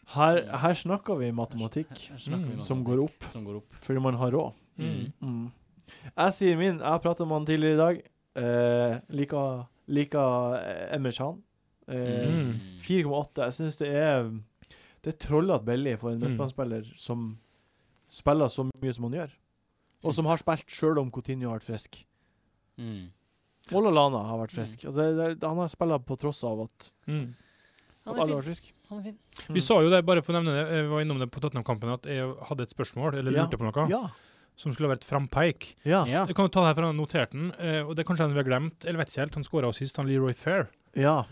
Speaker 1: Her, her snakker vi matematikk
Speaker 4: Mm.
Speaker 1: som går opp
Speaker 2: Som går opp.
Speaker 1: fordi man har råd.
Speaker 2: Mm.
Speaker 1: Mm. Jeg sier min. Jeg har pratet om han tidligere i dag. Eh, liker liker Emre Can. Eh,
Speaker 4: Mm.
Speaker 1: 4,8. Jeg syns det er Det er trollete billig for en
Speaker 4: Mm.
Speaker 1: midtbanespiller som spiller så mye som han gjør, og som har spilt sjøl om Coutinho har vært frisk.
Speaker 2: Mm.
Speaker 1: Og Lana har vært frisk. Altså, det, det, han har spilt på tross av at, at
Speaker 4: Mm.
Speaker 2: Han
Speaker 1: alle
Speaker 2: er
Speaker 1: har
Speaker 2: fin.
Speaker 1: vært friske.
Speaker 2: Han er fin.
Speaker 1: Mm.
Speaker 4: Vi sa jo det, bare for å nevne det, jeg var innom det på Tottenham-kampen, at jeg hadde et spørsmål, eller
Speaker 1: Ja.
Speaker 4: lurte på noe,
Speaker 1: Ja.
Speaker 4: som skulle være et frampeik.
Speaker 1: Ja.
Speaker 2: Ja.
Speaker 4: Jeg kan jo ta det her for han noterte den, eh, og det er kanskje en vi har glemt, eller vet ikke helt, han skåra sist, han Leroy Fair.
Speaker 1: ja.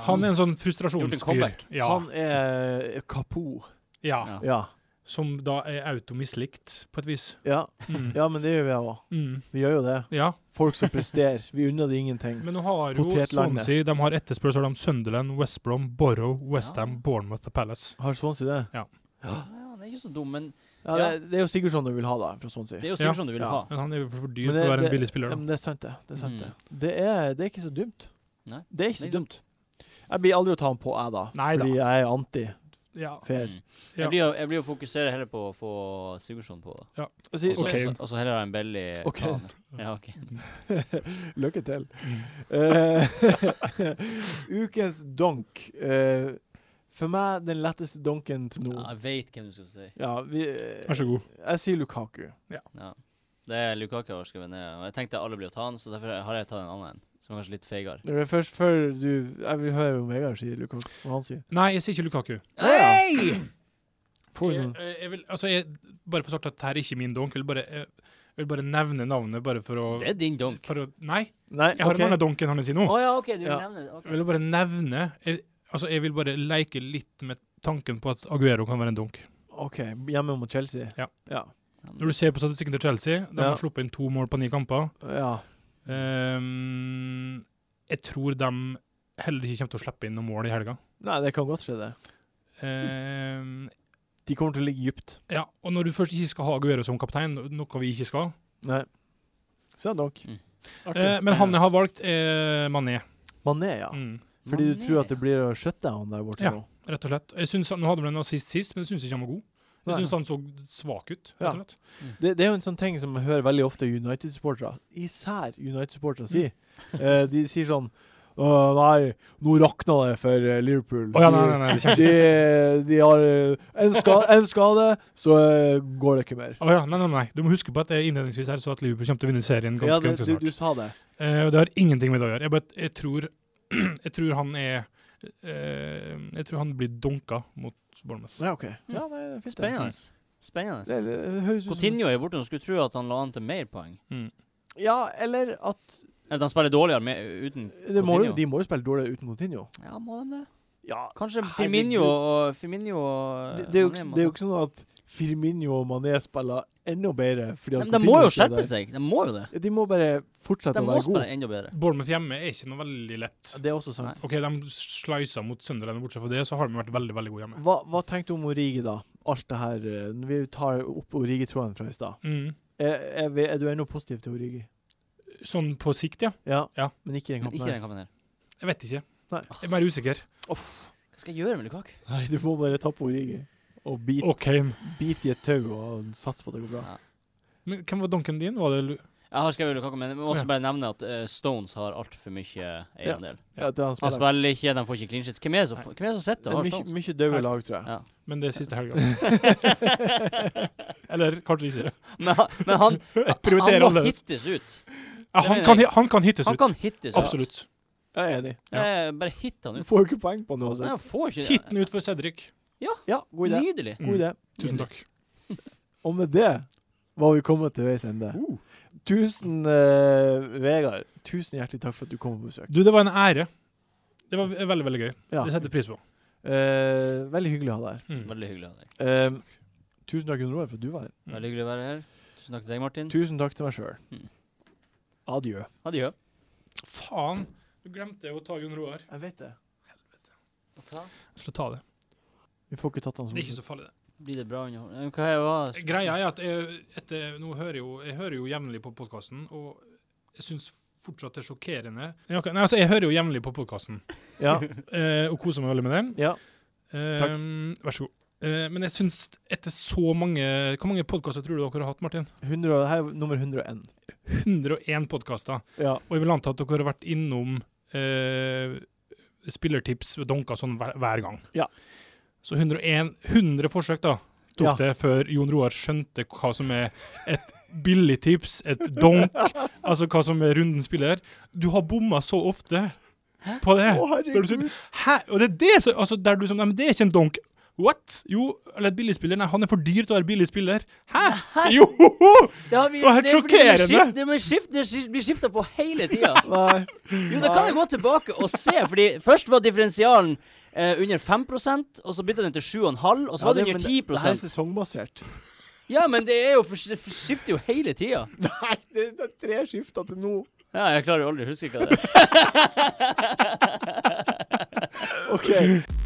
Speaker 4: Han er en
Speaker 2: Gjort
Speaker 4: sånn
Speaker 2: en
Speaker 4: frustrasjonsfyr.
Speaker 2: comeback.
Speaker 4: Ja,
Speaker 1: Han er Kapo.
Speaker 4: ja,
Speaker 2: Ja.
Speaker 1: Ja.
Speaker 4: som da er automislikt, på et vis.
Speaker 1: *laughs* Ja.
Speaker 4: Mm.
Speaker 1: ja, men det gjør vi òg.
Speaker 4: Mm.
Speaker 1: Vi gjør jo det.
Speaker 4: ja.
Speaker 1: Folk som presterer. Vi unner dem ingenting.
Speaker 4: Men nå har jo
Speaker 1: Potetlandet.
Speaker 4: Swansea de har etterspørsel, så har de Sunderland, West Brom, Borough, West Ham,
Speaker 2: Ja.
Speaker 4: Bournemouth og Palace.
Speaker 1: Har Swansea det?
Speaker 2: Ja, han er ikke så dum, men
Speaker 1: Ja,
Speaker 2: Ja.
Speaker 1: Det, det er jo Sigurdsson du vil ha, da, fra Swansea.
Speaker 2: det er jo sikkert som du vil
Speaker 1: Ja.
Speaker 2: ha.
Speaker 4: Men han er jo for dyr
Speaker 1: Men
Speaker 4: for
Speaker 1: det-
Speaker 4: å være
Speaker 1: det-
Speaker 4: en billig
Speaker 1: Ja,
Speaker 4: spiller, da.
Speaker 1: men det er sant, det. Det er, sant,
Speaker 2: Mm.
Speaker 1: det. Det er, det er ikke så dumt.
Speaker 2: Nei.
Speaker 1: Det er ikke
Speaker 2: Det
Speaker 1: så
Speaker 2: er ikke
Speaker 1: dumt. Jeg blir aldri å ta han på, jeg, da.
Speaker 4: Nei da.
Speaker 1: fordi jeg er anti-fair.
Speaker 4: Ja.
Speaker 2: Mm. Jeg, blir, å- jeg blir å fokusere heller på å få Sigurdsson på. da.
Speaker 1: Jeg sier-
Speaker 2: Og så-
Speaker 4: Ok.
Speaker 2: og så- Og så heller ha en belly
Speaker 1: Ok.
Speaker 2: Ja, ok.
Speaker 1: *laughs* Lykke til.
Speaker 4: Mm.
Speaker 1: Eh, *laughs* ukens donk. Eh, for meg den letteste donken til nå.
Speaker 2: Ja, jeg veit hvem du skal si.
Speaker 1: Ja, vi, eh,
Speaker 4: Vær så god.
Speaker 1: jeg sier Lukaku.
Speaker 2: Ja. Det er Lukaku jeg har skrevet ned. Og jeg tenkte alle blir å ta han, så derfor har jeg tatt en annen en. Som som er kanskje litt feigere.
Speaker 1: Det er Eh, først før du Jeg vil høre om Vegard sier Lukas, hva han sier.
Speaker 4: Nei, jeg sier ikke Lukaku.
Speaker 1: Hei! Får
Speaker 4: Jeg,
Speaker 1: noen-
Speaker 4: jeg jeg vil, altså jeg, bare for å starte at dette her er ikke min donk. Jeg vil bare, jeg, jeg vil bare nevne navnet bare for å,
Speaker 2: Det er din donk.
Speaker 4: for å Nei,
Speaker 1: Nei,
Speaker 4: jeg har
Speaker 1: ok.
Speaker 4: en annen donk enn han jeg sier nå.
Speaker 2: Å ja, OK, du vil
Speaker 1: Ja.
Speaker 2: nevne det.
Speaker 4: Jeg vil bare nevne jeg, Altså, jeg vil bare leke litt med tanken på at Aguero kan være en donk.
Speaker 1: OK, hjemme mot Chelsea.
Speaker 4: Ja.
Speaker 1: Ja.
Speaker 4: Når du ser på statistikken til Chelsea, de
Speaker 1: Ja.
Speaker 4: har sluppet inn to mål på ni kamper.
Speaker 1: ja.
Speaker 4: Ehm, jeg tror de heller ikke kommer til å slippe inn noen mål i helga.
Speaker 1: Nei, det kan godt skje, det.
Speaker 4: Ehm,
Speaker 1: De kommer til å ligge dypt.
Speaker 4: ja, og når du først ikke skal ha Aguero som kaptein, noe vi ikke skal
Speaker 1: Nei. Se, dog.
Speaker 2: Mm.
Speaker 4: eh, Men han jeg har valgt, er Mané.
Speaker 1: Mané, ja.
Speaker 4: Mm,
Speaker 1: Fordi du tror at det blir å shutdown der borte
Speaker 4: Ja.
Speaker 1: nå?
Speaker 4: rett og slett. Jeg synes han, nå hadde han en assist sist, men jeg syns ikke han var god. Jeg
Speaker 1: Nei.
Speaker 4: syns han så svak ut. rett
Speaker 1: Ja.
Speaker 4: og slett.
Speaker 1: Det, det er jo en sånn ting som jeg hører veldig ofte United-supportere, især United-supportere, si. Eh, de sier sånn «Åh, nei, nå rakna det for eh, Liverpool.
Speaker 4: Å ja, nei, nei, nei, det kommer
Speaker 1: De, de har eh, en, ska, en skade, så eh, går det ikke mer.
Speaker 4: Å ja, nei, nei, nei. Du må huske på at jeg innledningsvis her så at Liverpool kommer til å vinne serien ganske,
Speaker 1: ja, det,
Speaker 4: ganske
Speaker 1: du,
Speaker 4: snart.
Speaker 1: du sa det.
Speaker 4: Eh, og det har ingenting med det å gjøre. Jeg, bare, jeg, tror, *clears throat* jeg tror han er eh, Jeg tror han blir dunka mot Bournemouth.
Speaker 1: Ja, OK. Ja, det er fint. det.
Speaker 2: Spennende.
Speaker 1: Det, sånn
Speaker 2: Spennende.
Speaker 1: det, høres ut som
Speaker 2: Coutinho er borte, og skulle tro at han la an til mer poeng.
Speaker 4: Mm.
Speaker 1: Ja, eller at
Speaker 2: Eller at han spiller dårligere med, uten
Speaker 1: det må jo,
Speaker 2: Coutinho.
Speaker 1: De må jo spille dårligere uten Coutinho.
Speaker 2: Ja, må de det?
Speaker 1: Ja,
Speaker 2: Kanskje
Speaker 1: Herregud.
Speaker 2: Firmino og Firmino og
Speaker 1: det, det, er jo,
Speaker 2: Mané
Speaker 1: ikke-
Speaker 2: må
Speaker 1: det er jo
Speaker 2: ta-
Speaker 1: ikke sånn at Firmino og Mané spiller enda bedre. Fordi at
Speaker 2: Men De må
Speaker 1: Coutinho ikke
Speaker 2: jo
Speaker 1: er
Speaker 2: skjerpe
Speaker 1: der.
Speaker 2: seg. De må jo det.
Speaker 1: De må bare fortsette
Speaker 2: De
Speaker 1: å
Speaker 2: må
Speaker 1: være
Speaker 2: spille
Speaker 1: gode.
Speaker 2: enda bedre.
Speaker 4: Bournemouth hjemme er ikke noe veldig lett.
Speaker 1: Det er også sant.
Speaker 4: OK, de sløysa mot Sunderland, og bortsett fra det så har de vært veldig veldig gode hjemme.
Speaker 1: Hva, hva tenkte du om Origi, da? Alt det her eh, når Vi tar opp Origi-tråden fra i stad.
Speaker 4: Mm.
Speaker 1: Er, er, vi- er du ennå positiv til Origi?
Speaker 4: Sånn på sikt, ja.
Speaker 1: Ja.
Speaker 4: Ja.
Speaker 1: Men ikke i den
Speaker 2: Men
Speaker 1: kampen
Speaker 2: ikke i
Speaker 1: her.
Speaker 2: den kampen her.
Speaker 4: Jeg vet ikke.
Speaker 1: Nei.
Speaker 4: Jeg er mer usikker.
Speaker 2: Hva skal jeg gjøre med Lukaku?
Speaker 1: Nei, du må bare tappe Origi. Og bite
Speaker 4: Og Kane.
Speaker 1: bit i et tau og satse på at det går bra.
Speaker 4: Men hvem var donken din? Var det Lu
Speaker 2: Jeg har skrevet Lukaku, men jeg må også
Speaker 4: Ja.
Speaker 2: bare nevne at eh, Stones har altfor mye eiendel.
Speaker 1: Ja, det er han spiller.
Speaker 2: Han spiller altså. ikke, de får ikke clean sheets. Hvem er det som hvem er det
Speaker 1: Det
Speaker 2: som sitter og
Speaker 1: er
Speaker 2: har
Speaker 1: mye,
Speaker 2: Stones?
Speaker 1: mye døde lag, tror jeg.
Speaker 2: Ja.
Speaker 4: Men det er siste helga. Eller kanskje ikke.
Speaker 2: *laughs* Men, han- men han,
Speaker 4: *laughs* Jeg *laughs* prioriterer
Speaker 2: han må
Speaker 4: annerledes.
Speaker 2: hittes ut.
Speaker 4: Ja, han, kan, han kan hittes
Speaker 2: Han kan
Speaker 4: ut.
Speaker 2: hittes ut.
Speaker 4: Absolutt.
Speaker 1: Jeg er enig.
Speaker 2: Eh, Bare hit han
Speaker 1: Du
Speaker 2: ut.
Speaker 1: får jo ikke poeng på noe.
Speaker 2: Nei,
Speaker 1: Så.
Speaker 2: han får ikke Mm.
Speaker 4: Hit den ut for Cedric.
Speaker 1: Ja, god idé.
Speaker 2: Nydelig.
Speaker 1: God idé.
Speaker 4: Tusen takk.
Speaker 1: Og med det var vi kommet til veis ende.
Speaker 4: Uh.
Speaker 1: Tusen, eh, Vegard, tusen hjertelig takk for at du kom på besøk.
Speaker 4: Du, det var en ære. Det var ve- veldig, veldig gøy.
Speaker 1: Ja.
Speaker 4: Det setter jeg pris på.
Speaker 1: Eh, veldig hyggelig å ha deg her.
Speaker 4: Mm.
Speaker 2: Veldig hyggelig av deg.
Speaker 1: Eh, tusen takk, Gunn Roar, for at du var her.
Speaker 2: Veldig hyggelig å være her. Tusen takk til deg, Martin.
Speaker 1: Tusen takk til meg sjøl.
Speaker 2: Mm.
Speaker 1: Adjø.
Speaker 2: Adjø.
Speaker 4: Faen, du glemte å ta Gunn Roar.
Speaker 1: Jeg vet det.
Speaker 4: Slutt ta det.
Speaker 1: Vi får ikke tatt han
Speaker 4: Det
Speaker 1: som
Speaker 4: er ikke så farlig, det.
Speaker 2: Blir det bra underholdning? Hva er det var?
Speaker 4: Greia er at jeg, etter, nå hører jeg jo, jeg hører jo jevnlig på podkasten, og jeg syns fortsatt det er sjokkerende Nei, ok, nei, altså, jeg hører jo jevnlig på podkasten,
Speaker 1: Ja.
Speaker 4: eh, og koser meg veldig med den.
Speaker 1: ja.
Speaker 4: Eh,
Speaker 1: Takk.
Speaker 4: Vær så god. Eh, men jeg syns, etter så mange Hvor mange podkaster tror du dere har hatt, Martin?
Speaker 1: 100, og- her er nummer 101.
Speaker 4: 101 podkaster.
Speaker 1: Ja.
Speaker 4: Og jeg vil anta at dere har vært innom eh, spillertips og donka sånn hver, hver gang.
Speaker 1: Ja.
Speaker 4: Så 101, 100 forsøk da, tok
Speaker 1: Ja.
Speaker 4: det før Jon Roar skjønte hva som er et billig tips, et
Speaker 1: *laughs*
Speaker 4: donk, altså hva som er runden spiller. Du har bomma så ofte på det.
Speaker 1: Å,
Speaker 4: Der du sier,
Speaker 1: herregud.
Speaker 4: Hæ? Og det er det som Altså, der du som Nei, men det er ikke en donk. What? Jo, eller et billig spiller. Nei, han er for dyr til å være billig spiller. Hæ? Jo!
Speaker 2: Det, har vi,
Speaker 4: Det var helt
Speaker 2: er fordi det blir
Speaker 4: sjokkerende.
Speaker 2: skift- Det blir skift- det skif- blir skifta på hele
Speaker 4: *laughs*
Speaker 2: tida.
Speaker 1: Nei.
Speaker 2: Jo, da kan jeg gå tilbake og se, fordi først var differensialen eh, under 5 og så bytta den til 7,5, og så
Speaker 1: Ja,
Speaker 2: var det
Speaker 1: men
Speaker 2: under 10
Speaker 1: Det her er sesongbasert.
Speaker 2: Ja, men det er jo for, det skifter jo hele tida.
Speaker 1: *laughs* Nei, det, det er tre skifter til nå.
Speaker 2: Ja, jeg klarer jo aldri å huske hva det er.
Speaker 1: OK.